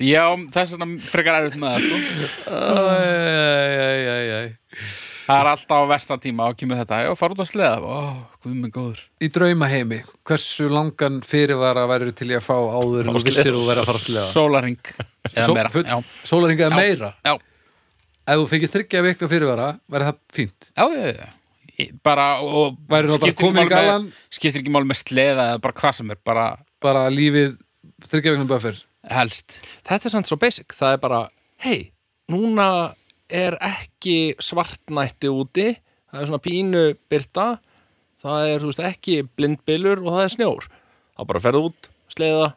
Já, það er svona frekar erfitt með það sko.
Æ, æ, æ, æ, æ.
Það er alltaf á versta tíma og kemur þetta Já, fara út að sleða Ó, guð minn góður
Í draumaheimi, hversu langan fyrirvara verður til ég að fá áður en þú vissir að þú verður að fara að slega?
Sólaring Eða meira
full,
Já,
Sólaringa eða meira?
já,
Ef þú fengið þryggja vikna fyrirvara, verður það fínt.
já, já, já. Ég- Bara, og
Væri þá bara
skiptir ekki
komin í
máli með-
galan?
Skiptir ekki máli með sleða eða bara hvað sem er Bara
Bara lífið þryggja vikna buffer.
helst
Þetta er samt svo basic, það er bara hei, núna er ekki svartnætti úti það er svona pínu byrta það er, þú veist, ekki blindbylur og það er snjór, þá bara ferðu út sleiða,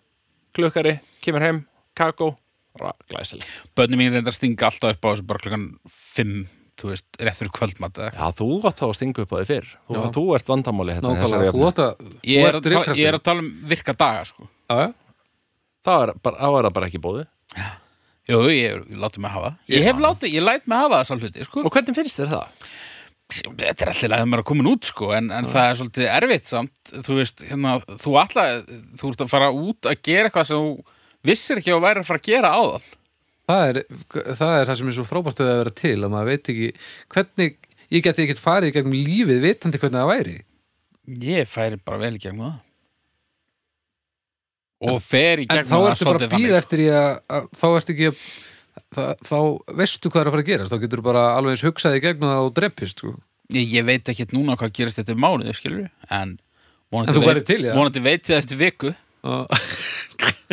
klukkari, kemur heim kakó, bara glæsileg
Bönni mín reyndar stinga alltaf upp á þessu bara klokkan 5, þú veist, rétt fyrir kvöldmat eða eitthvað.
Já, þú átt þá að stinga upp á því fyrr þú,
Já.
þú ert vandamáli hérna í þessari
Nákvæmlega, þú
jafnu.
átt að...
Ég er, að
þú
tala,
drifkraftur.
ég er að tala um virka daga sko.
Já, já.
þá er, bara, þá er það bara ekki bóði
Jú, ég, er- ég láti mig hafa það. Ég hef látið, ég læt mig hafa þessa hluti sko.
og hvernig finnst þér það?
Þetta er allir að maður er að koma út sko, en, en það er svolítið erfitt samt Þú veist, hérna, þú ætla þú ert að fara út að gera eitthvað sem þú vissir ekki að þú væri að fara að gera áðan
Það er, það er það sem er svo frábært við að vera til að maður veit ekki hvernig ég geti ekkert farið í gegnum lífið vitandi hvernig það væri
Ég færi bara vel í gegnum það Og fer í
en
gegnum
þá
það
ertu bara að býða eftir ég að, að þá ertu ekki að það, þá veistu hvað er að fara að gerast þá getur bara alveg eins hugsaði í gegnum það og dreppist sko.
ég, ég veit ekkert núna hvað gerist þetta mánuð, skilur við
En
En vonandi,
þú værir til í það?
vonandi veit ég það eftir viku
Og-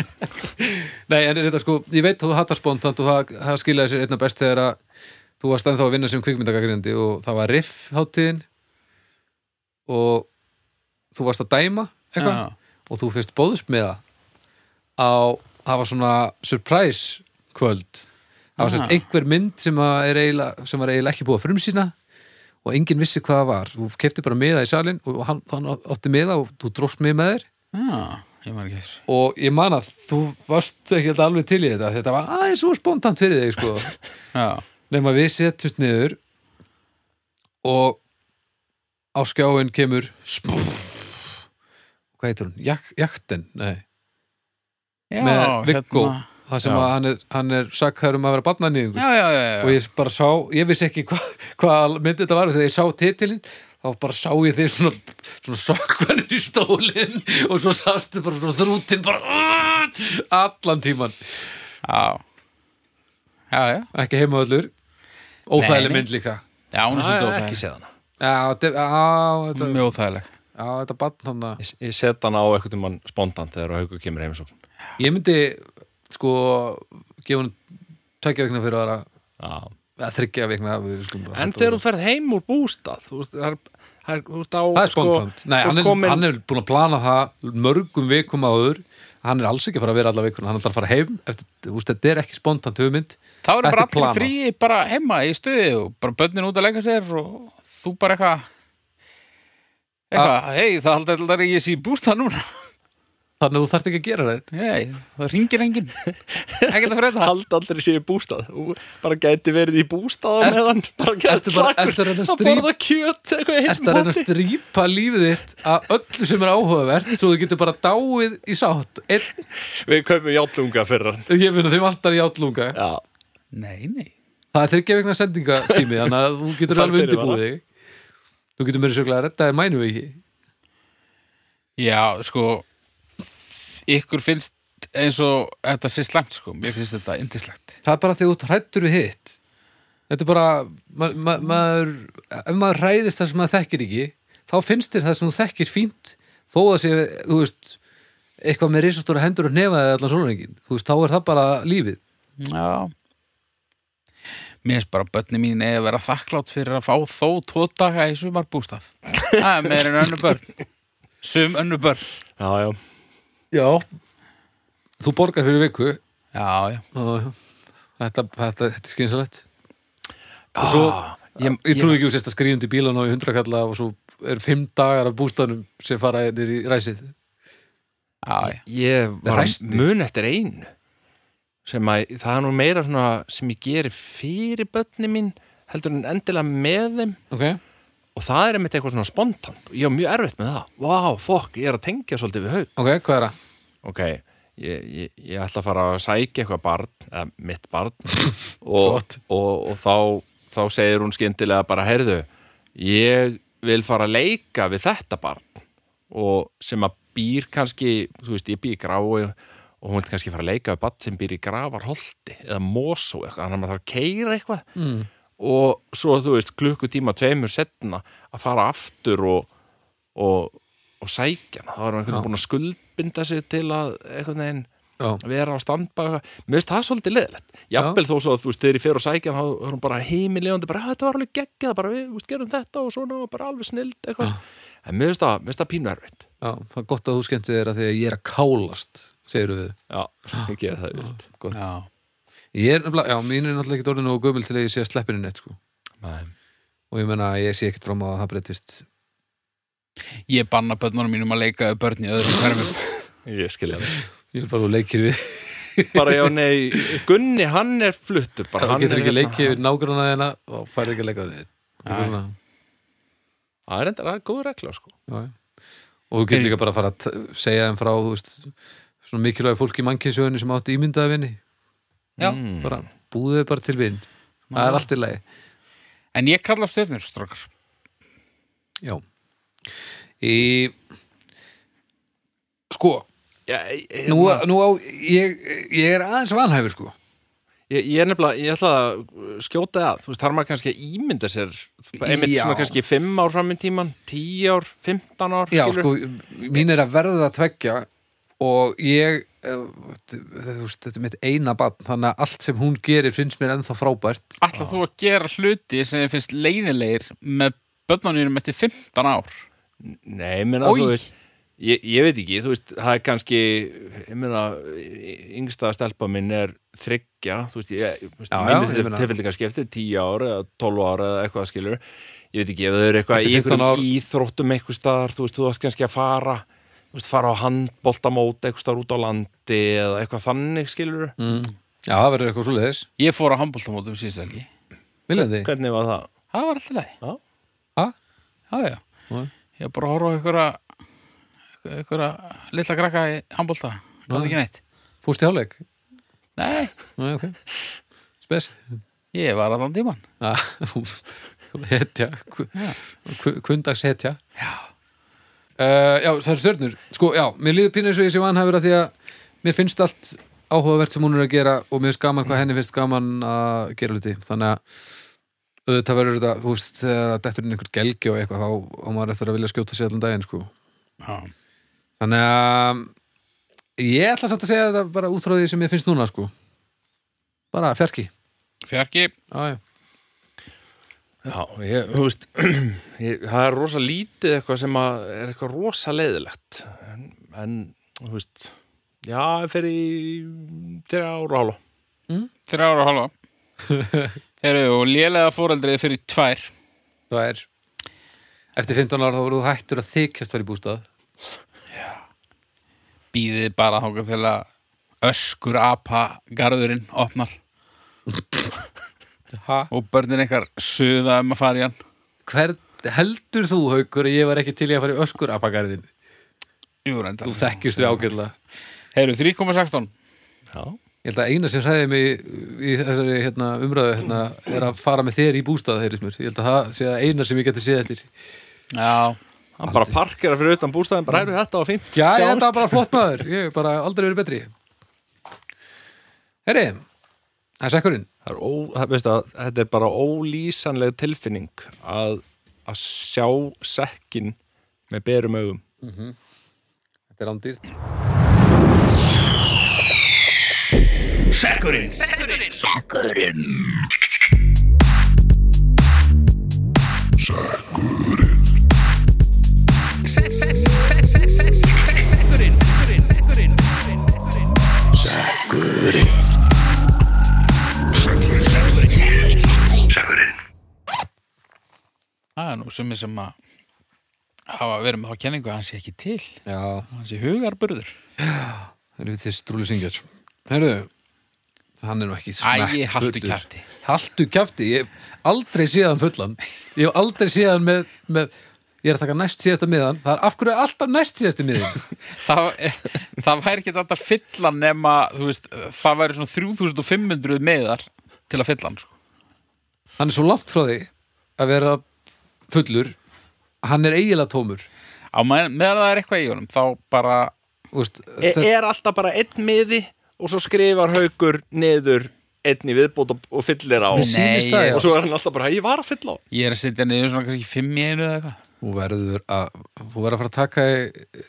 Nei, en þetta sko ég veit að þú hattar spontant og það, það skiljaði sér einna best þegar að þú varst ennþá að vinna sem kvikmyndagagrindi og það var riff hátíðin og þú varst að dæma eitthvað
Já.
og þú fyrst bóðst með það á, það var svona surprise kvöld það var
Ah.
sérst einhver mynd sem, að er eiginlega, sem var eiginlega ekki búið að frumsýna og enginn vissi hvað það var þú kefti bara með það í salin og hann, hann átti með það og þú dróst með með þér
Já, ég maður ekki eftir
og ég man að þú varst ekki alveg til í þetta þetta var aðeins svo spontant fyrir þig sko
Já,
nema við setjumst niður og á skjáin kemur spúf hvað heitir hún? Jak Jakten? Nei
já
með Viggo
hérna.
það sem
Já.
að hann er, hann er sakkaður um að vera barnanýðingur
Já, já, já, já.
og ég bara sá, ég vissi ekki hva, hvað myndi þetta var þegar ég sá titilin þá bara sá ég þig svona, svona sökkvanir í stólinn og svo sastu bara svona þrútin bara "Ugh!" allan tíman
Já, já, já,
ekki heima öllur óþægileg
Nei, nei.
mynd líka
já hún er svolítið
Æ, ekki
óþægileg
séð hana
Já, þetta- á, þetta
Mjög óþægileg
á, þetta bann hann að
Ég, ég set hana á eitthvað mann spontant þegar haugur kemur heim svo
Ég myndi sko gefa hann tveggja vikna fyrir aðra
Já
að þryggja vikna við skulum bara
En
halda
þegar
okkur.
þú ferð heim úr bústað Þú veist, það er, það er, þú veist á sko,
Það er spontant Nei, hann er,
komin,
hann er búin að plana það mörgum vikum áður Hann er alls ekki að fara að vera alla vikuna Hann er alltaf að fara heim eftir, úst, Þetta er ekki spontant hugmynd
Þá eru
Þetta
bara
er planað.
allir frí bara heima í stuði og bara bönnin út að leika sér og þú bara eitthvað eitthvað, hei, það haldi alltaf að ég sé í bústað núna
Þannig að þú þarft ekki að gera þetta
Nei, það ringir enginn ekkert að frétta
Hald aldrei sér í bústað Þú bara gæti verið í bústað á meðan Bara
ertu
gæti
bara- ertu að reyna að strípa-
borða kjöt Eitthvað
Þetta er að reyna að strýpa lífið þitt að öllu sem er áhugavert svo þú getur bara dáið í sátt Einn,
Við kaupum játlunga fyrir hann
Ég finna þeim alltaf í átlunga
Já,
Nei, nei,
Það er þryggja vikna sendingatími þannig að þú getur
Þarf
alveg
fyrir
undirbúið þig Þú getur mér sjökulega að redda þér mænu ekki
já, sko ykkur finnst eins og þetta sé slæmt, sko mér finnst þetta indislegt
Það er bara þegar þú hrættur við hitt Þetta er bara ma ma maður, ef maður hræðist það sem maður þekkir ekki þá finnst þér það sem þú þekkir fínt þó að sé, þú veist eitthvað með risastóra hendur og nefaði allan sólrengin þú veist, þá er það bara lífið
Já Mér finnst bara að börnin mín eða vera þakklátt fyrir að fá þó tvo daga í sumar bústað Það er meira en önnu börn Sum önnu börn
já, já
Já Þú borgar fyrir viku
Já, já
og þetta, þetta, þetta er skynsalegt og svo, ég, ég trúi ekki þú sérst að skrýjum til bílan og í hundrakalla og svo er fimm dagar af bústanum sem fara nýr í ræsið
Já, já
Ég var
Ræsti.
mun eftir einu sem að það er nú meira svona sem ég geri fyrir börni mín heldur en endilega með þeim
okay.
og það er einmitt eitthvað svona spontant ég var mjög erfitt með það, vá, fokk, ég er að tengja svolítið við haug
ok, hvað er það?
ok, ég, ég, ég ætla að fara að sækja eitthvað barn, eða mitt barn og, og,
Gott.
og þá, þá segir hún skyndilega bara, heyrðu, ég vil fara að leika við þetta barn og sem að býr kannski, þú veist, ég býr í grá og, og hún vil kannski fara að leika við barn sem býr í gravarholti eða mosu eitthvað, þannig að maður þarf að keira eitthvað mm. og svo, þú veist, klukkutíma tveimur setna að fara aftur og, og, og sækja hana, þá er hann einhvern veginn búin að skuldbinda sig til að einhvern veginn
Já.
vera á standbæð og eitthvað, mér finnst það svolítið leðilegt jafnvel þó svo að þú veist, þegar ég fer og sækja hana, þá er hún bara heimilegandi, bara "Ah, þetta var alveg geggjað bara við, þú veist, gerum þetta og svona og bara alveg snild eitthvað, en mér finnst það, mér finnst það pínu erfitt
Já, það er gott að þú skemmti þér að því að ég er að kálast segir við
já, ég gera það vilt
gott.
Já.
Ég er nefnilega, já, mín er náttúrulega ekki orðin og gömul til að ég sé að sleppinu neitt sko. og ég menna að ég sé ekkert fram á að það breytist
Ég banna börnunum mínum að leika við börn í öðrum hverfum
ég skilja það
ég vil bara þú leikir við
bara já, nei, Gunni, hann er fluttur bara,
þú
hann
getur
er
ekki
hérna-
leikið við nágrunna þeirna og færði ekki að leika við
Nei.
þeir
það er enda, það er góð regla, sko
og þú getur líka bara að fara að t- segja þeim frá þú veist, svona mikilvæg fólk í mannkynnsjöðunni sem átti ímyndaði vinni
Já.
Mm.
bara búðu þeir bara til vinn það er allt í lagi
En ég kalla stjörnur, strókar
já í sko,
já, ég,
nú, nú á ég, ég er aðeins vanhæfur sko
Ég, ég er nefnilega, ég ætla að skjóta það, þú veist, þarf maður kannski að ímynda sér einmitt
Já.
svona kannski 5 ár fram í tíman, 10 ár, 15 ár
já
skilur.
sko, mín er að verða að tveggja og ég eh, þetta, þú veist, þetta er mitt eina barn þannig að allt sem hún gerir finnst mér ennþá frábært
Ætla þú að gera hluti sem þið finnst leiðilegir með börnunum mínum eftir 15 ár
sko,
Nei, menna,
Oj.
þú veist ég, ég veit ekki, þú veist, það er kannski ég meina, yngsta stelpa minn er þryggja, þú veist, ég, þú veist,
Já, já,
mín
ég
er
meina-
tilfelli kannski eftir 10 ár eða 12 ár eða eitthvað skilur ég veit ekki, ef þau eru eitthvað
Eftir
í
15 ár.
einhverjum íþróttum eitthvað staðar, þú veist, þú veist kannski að fara þú veist, fara á handboltamót eitthvað staðar út á landi eða eitthvað þannig skilur
já, það verður eitthvað svo leiðis
Ég fór á handbóltamótum síðust helgi
viljandi,
Hvernig var það?
Það var alltaf leið
Já.
hæ?
Já, já
Já.
Ég var bara að horfa á einhverja einhverja litla krakka í handbólta Gáði ekki neitt
Fúst í hálfleik?
Nei,
Nei, ok. Spes.
ég var að þann tíman
Ah, hetja. Ku- ku- Kundags hetja.
Já,
Uh, já, það er stjörnur. Sko, já, mér líður pínu eins og ég sé vanhæfur að því að mér finnst allt áhugavert sem hún er að gera og mér finnst gaman hvað henni finnst gaman að gera hluti. Þannig að auðvitað verður þetta, þú veist, þegar dettur inn einhver gelgi og eitthvað, þá á maður eftir að vilja skjóta sér allan daginn, sko.
já.
Þannig að ég ætla satt að segja þetta bara út frá því sem ég finnst núna, sko. Bara fjarki.
Fjarki,
Já, já.
Já, ég, þú veist, ég, það er rosa lítið eitthvað sem að er eitthvað rosa leiðilegt, en, en þú veist, já, ég fer í þeirra ára hálfa.
þrjá ára og halva Heru, og lélega fóreldrið fyrir tvær
Það er Eftir 15 ára þá voru þú hættur að þykjast var í bústað
býðið bara þáka til að öskur apa garðurinn opnar
ha?
og börnin eitthvað suða um að fara í hann
Hver heldur þú, Haukur, að ég var ekki til í að fara í öskur apagarðin?
Jú,
Þú
reyndar
þekkjust við ágætlega
Heru, 3,16
Já.
Ég held að eina sem hræði mig í þessari hérna, umræðu hérna, er að fara með þér í bústað, heyrðis mér Ég held að það sé að eina sem ég geti séð eftir
Já,
Hann bara parkera fyrir utan bústæðin, bara hæru þetta og fínt.
Já, ég
Sjáumst.
enda bara flott maður Ég hef bara aldrei verið betri Herri, það er sekkurinn
Það er ó, það, veistu, að, þetta er bara ólýsanleg tilfinning að, að sjá sekkin með berum augum.
Þetta er ándýrt
það er nú sumið sem að hafa verið með þá kenningu að hann sé ekki til
Já,
hann sé hugarburður
það er við til strúli syngjöld Herðu, hann er nú ekki
Æ,
smekkfullur.
haldu kjarti
Haltu kæfti, ég hef aldrei séð hann fullan Ég hef aldrei séð hann með, með Ég ég er að taka næst síðasta miðan það er af hverju er alltaf næst síðasti miðin
það, eh, það væri ekki þetta fylla nema, þú veist, það væri svona 3500 meðar til að fylla hann, sko.
hann er svo langt frá því að vera fullur hann er eiginlega tómur
Á meðan meðan það er eitthvað í honum, þá bara,
Úst,
e er alltaf bara einn miði og svo skrifar haukur niður einn í viðbót og, og fyllir á
Mér
og
sýnist
Nei,
það,
ég-
já.
svo er hann alltaf bara, ég var að fylla á
ég er að setja niður svona kannski fimm í einu eða eitthvað.
þú verður að þú verður að fara að taka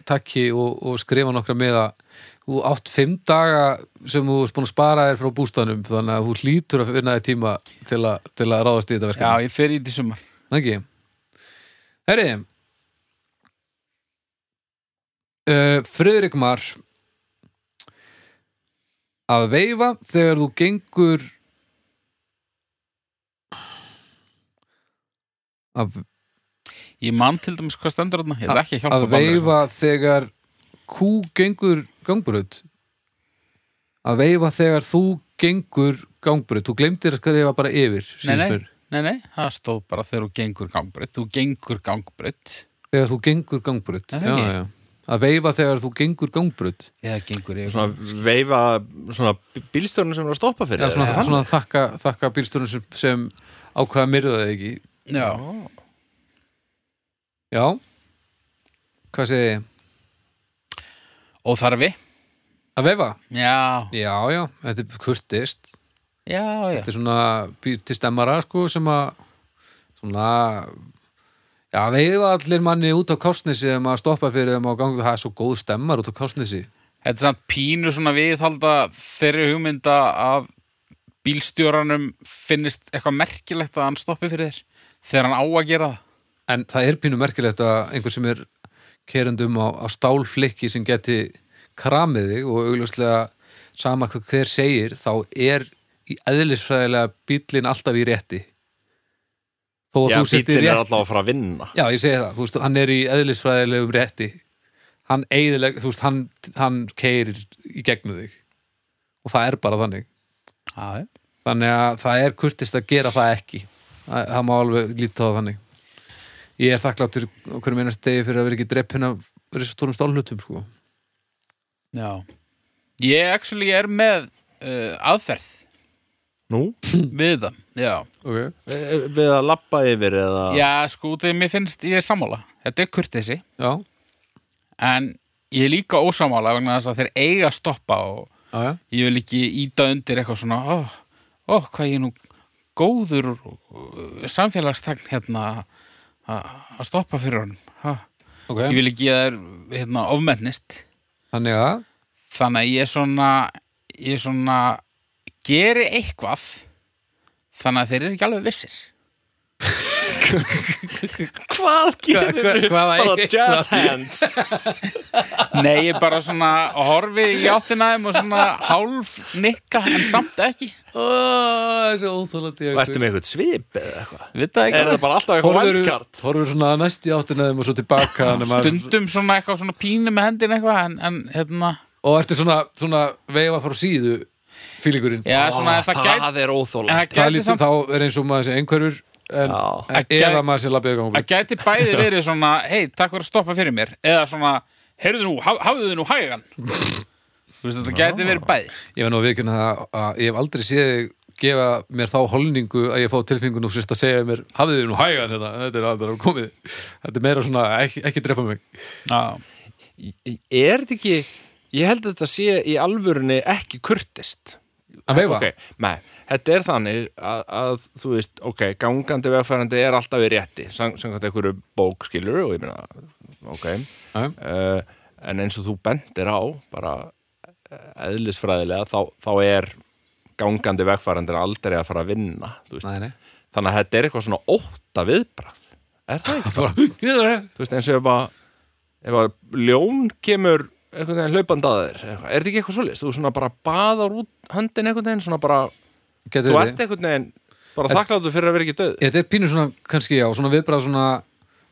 takki og, og skrifa nokkra meða þú átt fimm daga sem þú erst búin að spara þér frá bústanum þannig að þú hlýtur að finna þér tíma til að, til að ráðast í þetta
Já,
verkefni
ég fer í því sumar.
ekki herri uh, Friðrik Mar að veifa þegar þú gengur að
Ég man til dæmis hvað stendur þarna, ég ætla ekki að hjálpa
að
Baldur
veifa þegar kú gengur gangbröð að veifa þegar þú gengur gangbröð, þú glemdir að skrifa bara yfir
Nei,
sýnist
nei.
mér.
Nei, nei, það stóð bara þegar þú gengur gangbröð Þú gengur gangbröð
þegar þú gengur gangbröð
Nei,
já,
ekki.
já. að veifa þegar þú gengur gangbröð
Eða gengur yfir
svona veifa svona bílstjórnum sem er að stoppa fyrir
eða svona,
þig.
svona þakka, þakka bílstörnum sem, sem ákvaða myrðaði ekki
Já,
já hvað segi ég?
óþarfi
að veifa?
Já,
já, já, þetta er kurtist
já, já
þetta er svona býr til stemmara sko sem að svona já veiða allir manni út á kásnesi ef maður stoppa fyrir þeim á gangi það er svo góð stemmar út á kásnesi
Þetta er samt pínu svona viðhalda þeirri hugmynda að bílstjóranum finnist eitthvað merkilegt að hann stoppi fyrir þér þegar hann á að gera það
en það er pínu merkilegt að einhver sem er kerendum á, á stálflikki sem geti kramið þig og augljóslega sama hvað hver segir þá er í eðlisfræðilega bíllinn alltaf í rétti þó að
já,
þú settir
bílinn er
rétt
alltaf að fara að vinna
Já, ég segi það, þú veist, hann er í eðlisfræðilegum rétti hann eðileg, þú veist, hann, hann keirir í gegnum þig og það er bara þannig
Já, já
þannig að það er kurtist að gera það ekki það, það má alveg líta á það þannig ég er þakkláttur okkur minnast degi fyrir að vera ekki dreppin af risastórum stálhlutum, sko
Já. Ég actually er með uh, aðferð
nú,
við það Já,
okay.
eh, við að lappa yfir eða
já sko, þegar mér finnst ég er sammála Þetta er kurtesi
Já,
en ég er líka ósámála vegna þess að þeir eiga að stoppa og
já, já,
ég vil ekki íta undir eitthvað svona ó, ó hvað ég er nú góður uh, samfélagstegn hérna a- að stoppa fyrir honum ha.
ok
ég vil ekki að það er hérna, ofmennist
Þannig að,
þannig að ég svona ég svona geri eitthvað þannig að þeir eru ekki alveg vissir
hvað gerir
hva, hvaða
bara
ekki
jazz hands
Nei, ég bara svona horfi í áttinaðum og svona hálf nikka en samt ekki
Ó, það er svo óþólandi
ertu með eitthvað svip eða eitthvað
Við það ekki
er það bara alltaf eitthvað
Horfur,
wildcard
horfur svona næst í áttinaðum og svo tilbaka þannig að maður-
stundum svona eitthvað svona pínu með hendin eitthvað en, en hérna,
og ertu svona, svona veifa frá síðu fílingurinn
já svona
Ó,
það, það gæti
það er
en
óþólandi
það
það
gæti,
lítið
samt,
þá er eins og maður sé einhverjur en
Já.
en
Að
eða
gæ-
maður sé labbið gangum
það gæti bæði verið svona hei, takk fyrir að stoppa fyrir mér eða svona, heyrðu nú, haf, hafðu þið nú hægan þú veist, þetta gæti verið bæði
ég verð nú að viðkynna það að ég hef aldrei séð þig gefa mér þá holningu að ég fá tilfingun og sérst að segja mér hafðu þið nú hægan þetta, þetta er alveg bara komið þetta er meira svona, ekki, ekki drepa mig
já,
er þetta ekki ég held að þetta sé í alvörunni ekki kurtist
að veifa,
Ok, nei, þetta er þannig að, að þú veist, ok, gangandi vegfærandi er alltaf í rétti, sam- samkvæmt einhverju bók skilur og ég meina ok,
Já.
uh, en eins og þú bendir á, bara eh, eðlisfræðilega, þá, þá er gangandi vegfærandi aldrei að fara að vinna, þú veist
Nei, nei.
þannig að þetta er eitthvað svona ótta viðbrað er það ekki?
bara
þú veist, eins og ef að, ef að ljón kemur einhvern veginn hlaupandi að þér, eitthvað. er þetta ekki eitthvað svoleiðist? Þú svona bara baðar út höndin einhvern veginn, svona bara
getur
þú
verið.
ert einhvern veginn bara þakkláttu fyrir að vera ekki döð
þetta er pínu svona, kannski já, svona viðbrað svona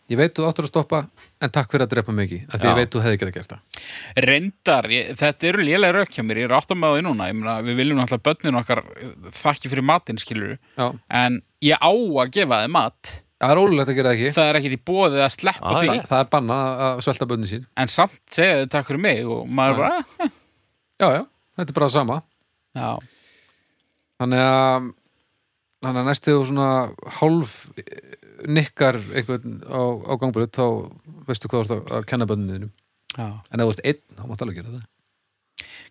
ég veit þú áttur að stoppa en takk fyrir að drepa mig ekki, af því ég
Já.
veit þú hefði geta gert það
reyndar, ég, þetta eru lélega rauk hjá mér ég er átt að með því núna, ég meina, við viljum eh, alltaf börnin okkar þakki fyrir matinn skilur
já,
en ég á að gefa þið mat
Það er ólulegt að gera það ekki
það er ekkit í bóðið að sleppa
Ah,
því
já.
Það er bannað að svelta bönni sín
en samt segja þau takk fyrir mig og maður bara "Ah,
Já, já, þetta er bara það sama
já,
Þannig að þannig að næstu þú svona hálf eh, nikkar einhvern á, á gangbrut þá veistu hvað þú ert að- að kenna bönninu
já.
en ef þú ert einn, þá mátt alveg gera það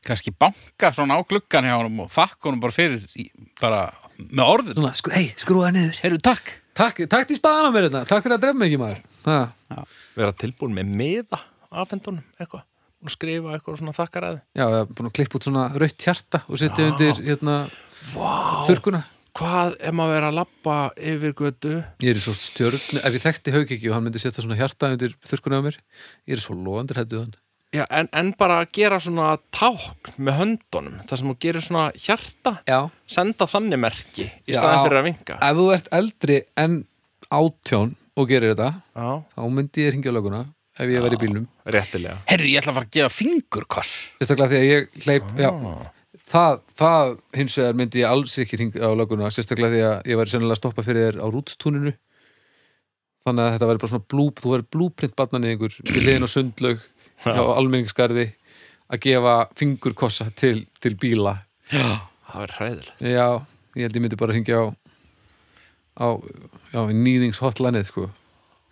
kannski banka svona á gluggan hjá honum og þakka honum bara fyrir í- bara með orðum
Svona, sko, sku, hei, skrúða niður
heyrðu takk
Takk, takk til spaðan á mér þetta, takk fyrir að drefna ekki maður ha.
vera tilbúin með meða afhendunum eitthvað og skrifa eitthvað svona þakkaræði
Já, það er búin að klippa út svona rautt hjarta og setja undir hérna
Vá,
þurrkuna
hvað ef maður verið að lappa yfir götu
Ég er í svo stjörn, ef ég þekkti haug ekki og hann myndi setja svona hjarta undir þurrkuna á mér Ég er svo loðandir hættu hann
Já, en, en bara að gera svona tákn með höndunum, það sem þú gerir svona hjarta,
Já,
senda þannig merki í
Já.
staðan fyrir að vinka
ef þú ert eldri en átjón og gerir þetta
Já,
þá myndi ég ringja á löguna ef ég væri í bílnum
réttilega
heyrðu ég ætla að fara að gefa fingurkoss
sérstaklega því að ég hleyp
Ah.
já, það, það hins vegar myndi ég alls ekki ringja á löguna sérstaklega því að ég væri sennilega að stoppa fyrir þér á rútstúninu þannig að þetta væri bara svona blú, þú væri blúprint barnan í einhver í liðin og sundlaug á almenningsgarði að gefa fingurkossa til, til bíla
Það verður hræðilegt
já, ég held ég myndi bara hringja á á, já, nýðingshotlanið sko,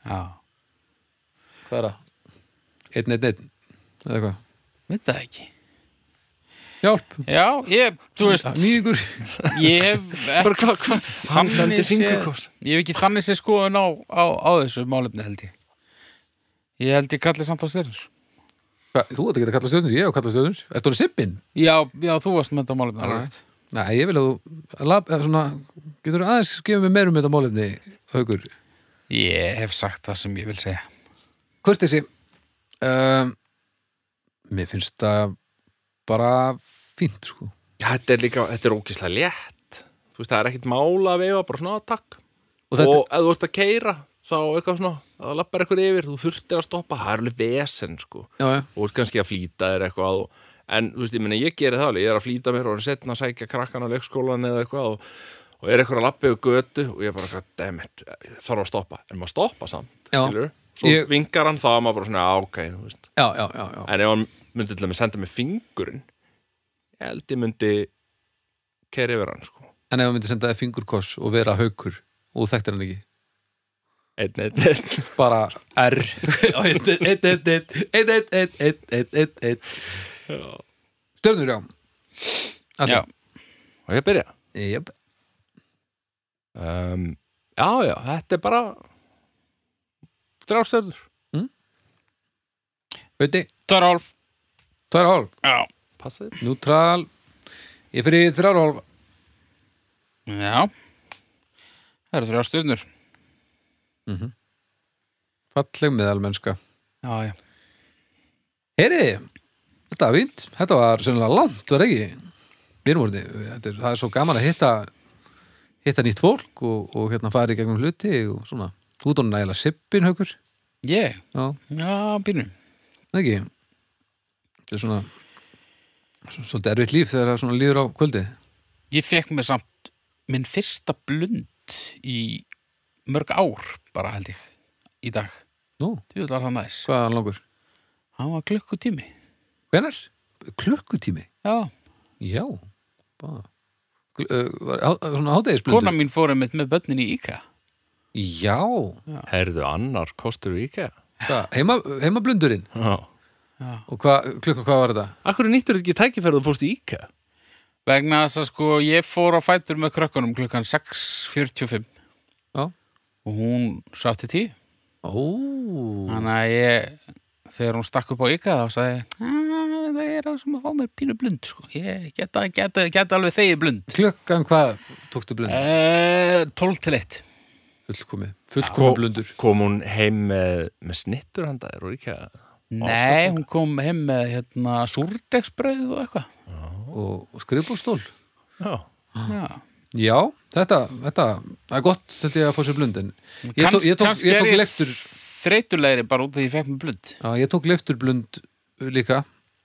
já,
hvað er það? 111, eða hvað?
veit það ekki
Hjálp,
já, ég, þú veist
nýðingur
ég hef
Bara
ekki
hvað, hvað, hann sendi
þannig sé-
fingurkors
ég hef ekki þannig sér skoðun á, á, á þessu málefni held ég ég held ég kalli samt á stjörnur
Hva, þú ert ekki að kalla stjórnur, ég hef að kalla stjórnur Ertu hann sippin?
já, já, þú varst með þetta málefni alveg rétt.
Nei, ég vil að þú lab, eða svona, Getur aðeins gefa mér meir um þetta málefni Haukur
ég hef sagt það sem ég vil segja
Kurtisi um, Mér finnst það bara fínt sko
Já, þetta er líka, þetta er ókislega létt Þú veist, það er ekkit mála að veifa, bara svona "Ah, takk
Og
Og,
þetta-
ef þú ert að keira, þá eitthvað svona það lappar eitthvað yfir, þú þurftir að stoppa það er alveg vesen, sko
Já, já,
og ert kannski að flýta þér eitthvað og, en þú veist, ég meina, ég geri það alveg, ég er að flýta mér og er setna að sækja krakkan á leikskólan eða eitthvað og, og er eitthvað að lappa yfir götu og ég er bara, god damn it, ég þarf að stoppa en maður stoppa samt,
Já.
skilur svo
Ég-
vingar hann þá er maður bara svona, "Ah, ok, þú veist
já, já, já, já.
en ef hann myndi til að senda mig fingurinn ég held ég myndi keri yfir hann, sko
En ef hann myndi senda þér fingurkoss og vera haukur og þú þekktir hann ekki
einn, einn, einn
bara R 1, 1, 1, 1, 1, 1, 1, 1, 1, 1 Stjörnur, já Allir.
Já.
og ég byrja
Jöp.
um, já, já, þetta er bara þrjárstörður
Veitir,
Törhálf,
það er hálf
já
passaði
Neutral Ég fyrir þrjár og hálf
Já Það eru þrjá stjörnur
Falleg meðalmennska
Já, já
Heyri, þetta var fínt Þetta var sennilega langt, var ekki Mér voru þetta, er- það er svo gaman að hitta hitta nýtt fólk og, og hérna fara í gegnum hluti og svona Þú ert hún nægilega sippin, haukur
Ég,
Já,
já, býnum
það ekki Þetta er svona svo- svolítið erfitt líf þegar það svona líður á kvöldi
Ég fekk mér samt minn fyrsta blund í mörg ár bara held ég í dag
Nú,
Þú var það næs
hvað er hann langur?
Hann var klukkutími
Hvenær? Klukkutími?
Já,
Já, bara Gl- uh, var, há- svona hádegisblundu
kona mín fór einmitt með börnin í IKEA
Já,
Herðu annar kostur í IKEA
hvað, heima, heima blundurinn
Já.
og hvað, klukkan hvað var þetta?
Akkur nýttur þetta ekki tækifærið að þú fórst í IKEA?
vegna þess að sko ég fór á fætur með krökkunum klukkan 6.45
Já.
og hún sátti tí
Ó,
þannig að ég þegar hún stakk upp á IKEA þá sagði ég, "Ah, það er það sem að fá mér pínu blund sko. ég geta, geta, geta alveg þegi blund
klukkan hvað tóktu blundur?
Eh, 12 til 1
Fullkomið, fullkomið blundur
Kom hún heim með, með snittur handa þér og IKEA?
Nei, hún kom heim með hérna súrdegsbrauð og eitthvað
og skrifbúrstól
Já.
Já.
Já, þetta, þetta það er gott þetta ég að fá sér blundin Ég
Kanns-
tók, ég tók,
kannski
ég
er
tók leiftur
þreytulegri bara út af því ég fekk mér blönd
Já, ég tók leiftur blund uh, líka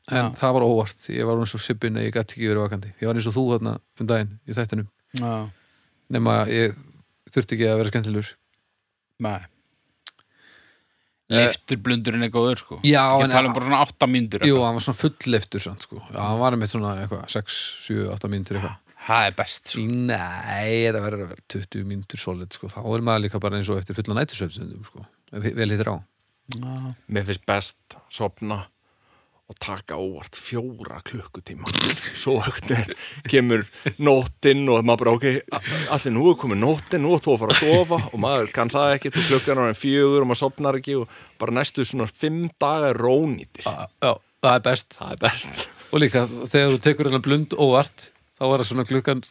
en
Já.
það var óvart, ég var eins og sippin að ég gæti ekki verið vakandi, ég var eins og þú þarna um daginn í þættinum,
Já,
nema ég þurfti ekki að vera skemmtilegur
Nei Eh, Leiftur blundurinn er góður sko
Já,
Ég
en-
tala um bara svona átta myndur
Jú, hann var svona fulleftur samt, sko. Já, hann var einmitt svona eitthvað, 6, 7, 8 mínútur eitthvað.
Það er best sko.
Nei, þetta verður að vera 20 mínútur solid, sko. Þá er maður líka bara eins og eftir fulla nætursöfnstundum, sko. Ef hi- vel hittir á.
Mér finnst best sopna og taka óvart fjóra klukkutíma svo högt er, kemur nóttinn og maður bara ok a- allir nú er komið nóttinn, nú er þú að fara að sofa og maður kann það ekkert og klukkan er orðin fjögur og maður sopnar ekki og bara næstu svona fimm daga er rónýtir
Já, það er best.
það er best
Og líka, þegar þú tekur hennar blund óvart, þá var það svona klukkan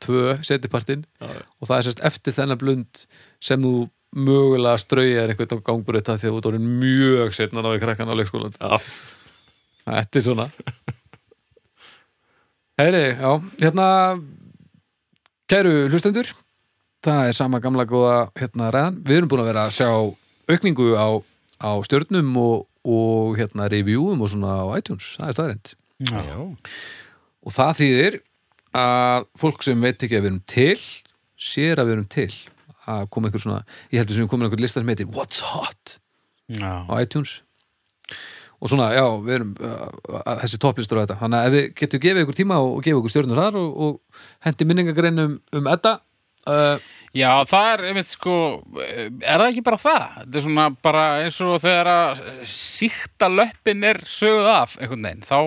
2 setipartinn og það er sérst eftir þennan blund sem þú mögulega strauja einhvern á gangbröta þegar þú ert orðin mjög setna náði krakkan á leikskólan.
Já.
Þetta er svona Heyri, já, hérna Kæru hlustendur Það er sama gamla góða hérna ræðan Við erum búin að vera að sjá aukningu á, á stjörnum og, og hérna reviewum og svona á iTunes Það er staðrind
Já.
Og það þýðir að fólk sem veit ekki að við erum til sér að við erum til að koma einhver svona, ég heldur sem við komin einhver listar sem heitir What's Hot
Já.
á iTunes og svona, já, við erum uh, uh, þessi topplistur á þetta, þannig að ef við getum gefið ykkur tíma og, og gefið ykkur stjörnur þar og, og hendi minningagrinn um, um þetta uh,
Já, það er, einmitt sko Er það ekki bara það? Þetta er svona bara eins og þegar að síkta löppin er söguð af einhvern veginn, þá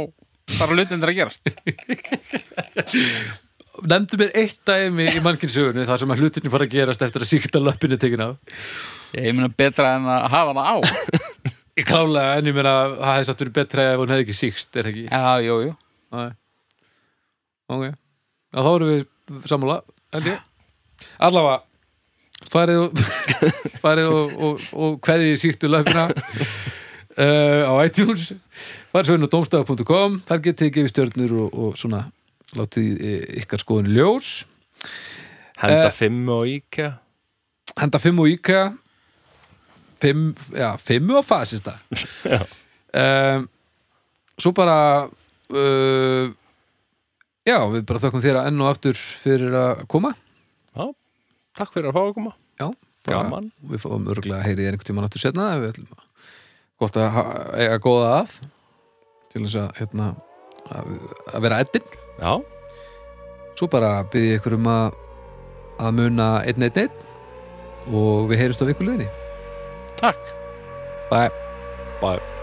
bara hlutin er að gerast
nefndu mér eitt dæmi í mannkynnsögunni þar sem að hlutinni fara að gerast eftir að síkta löppinni tekin af
Ég meina betra en að hafa hana á
ég klálega en ég meina það hefði satt verið betra ef hún hefði ekki síkst, er það ekki?
Já, jú, jú
Nei. Ok. Já, þá erum við sammála, held ég. Allavega, farið og, farið og, og, og hverði síktu löfina uh, á iTunes. Farið svo inn á domstafa.com, þar getið þið gefið stjörnur og, og svona látið eh, ykkar skoðun í ljós.
henda
Eh.
fimm og íkja
Henda fimm og íka, fimm, já, fimm og fasista.
Já.
um, svo bara uh, já, við bara þökkum þér að enn og aftur fyrir að koma
Já. takk fyrir að fá að koma
já, bara,
gaman
við fáum örgulega að heyri þér einhvern tímann aftur setna ef við ætlum að gott að ha- eiga góða að til þess að hérna að, að vera eddin
Já.
svo bara byrði ykkur um að að muna einn einn einn og við heyrumst á vikuleginni
Takk
bye
bye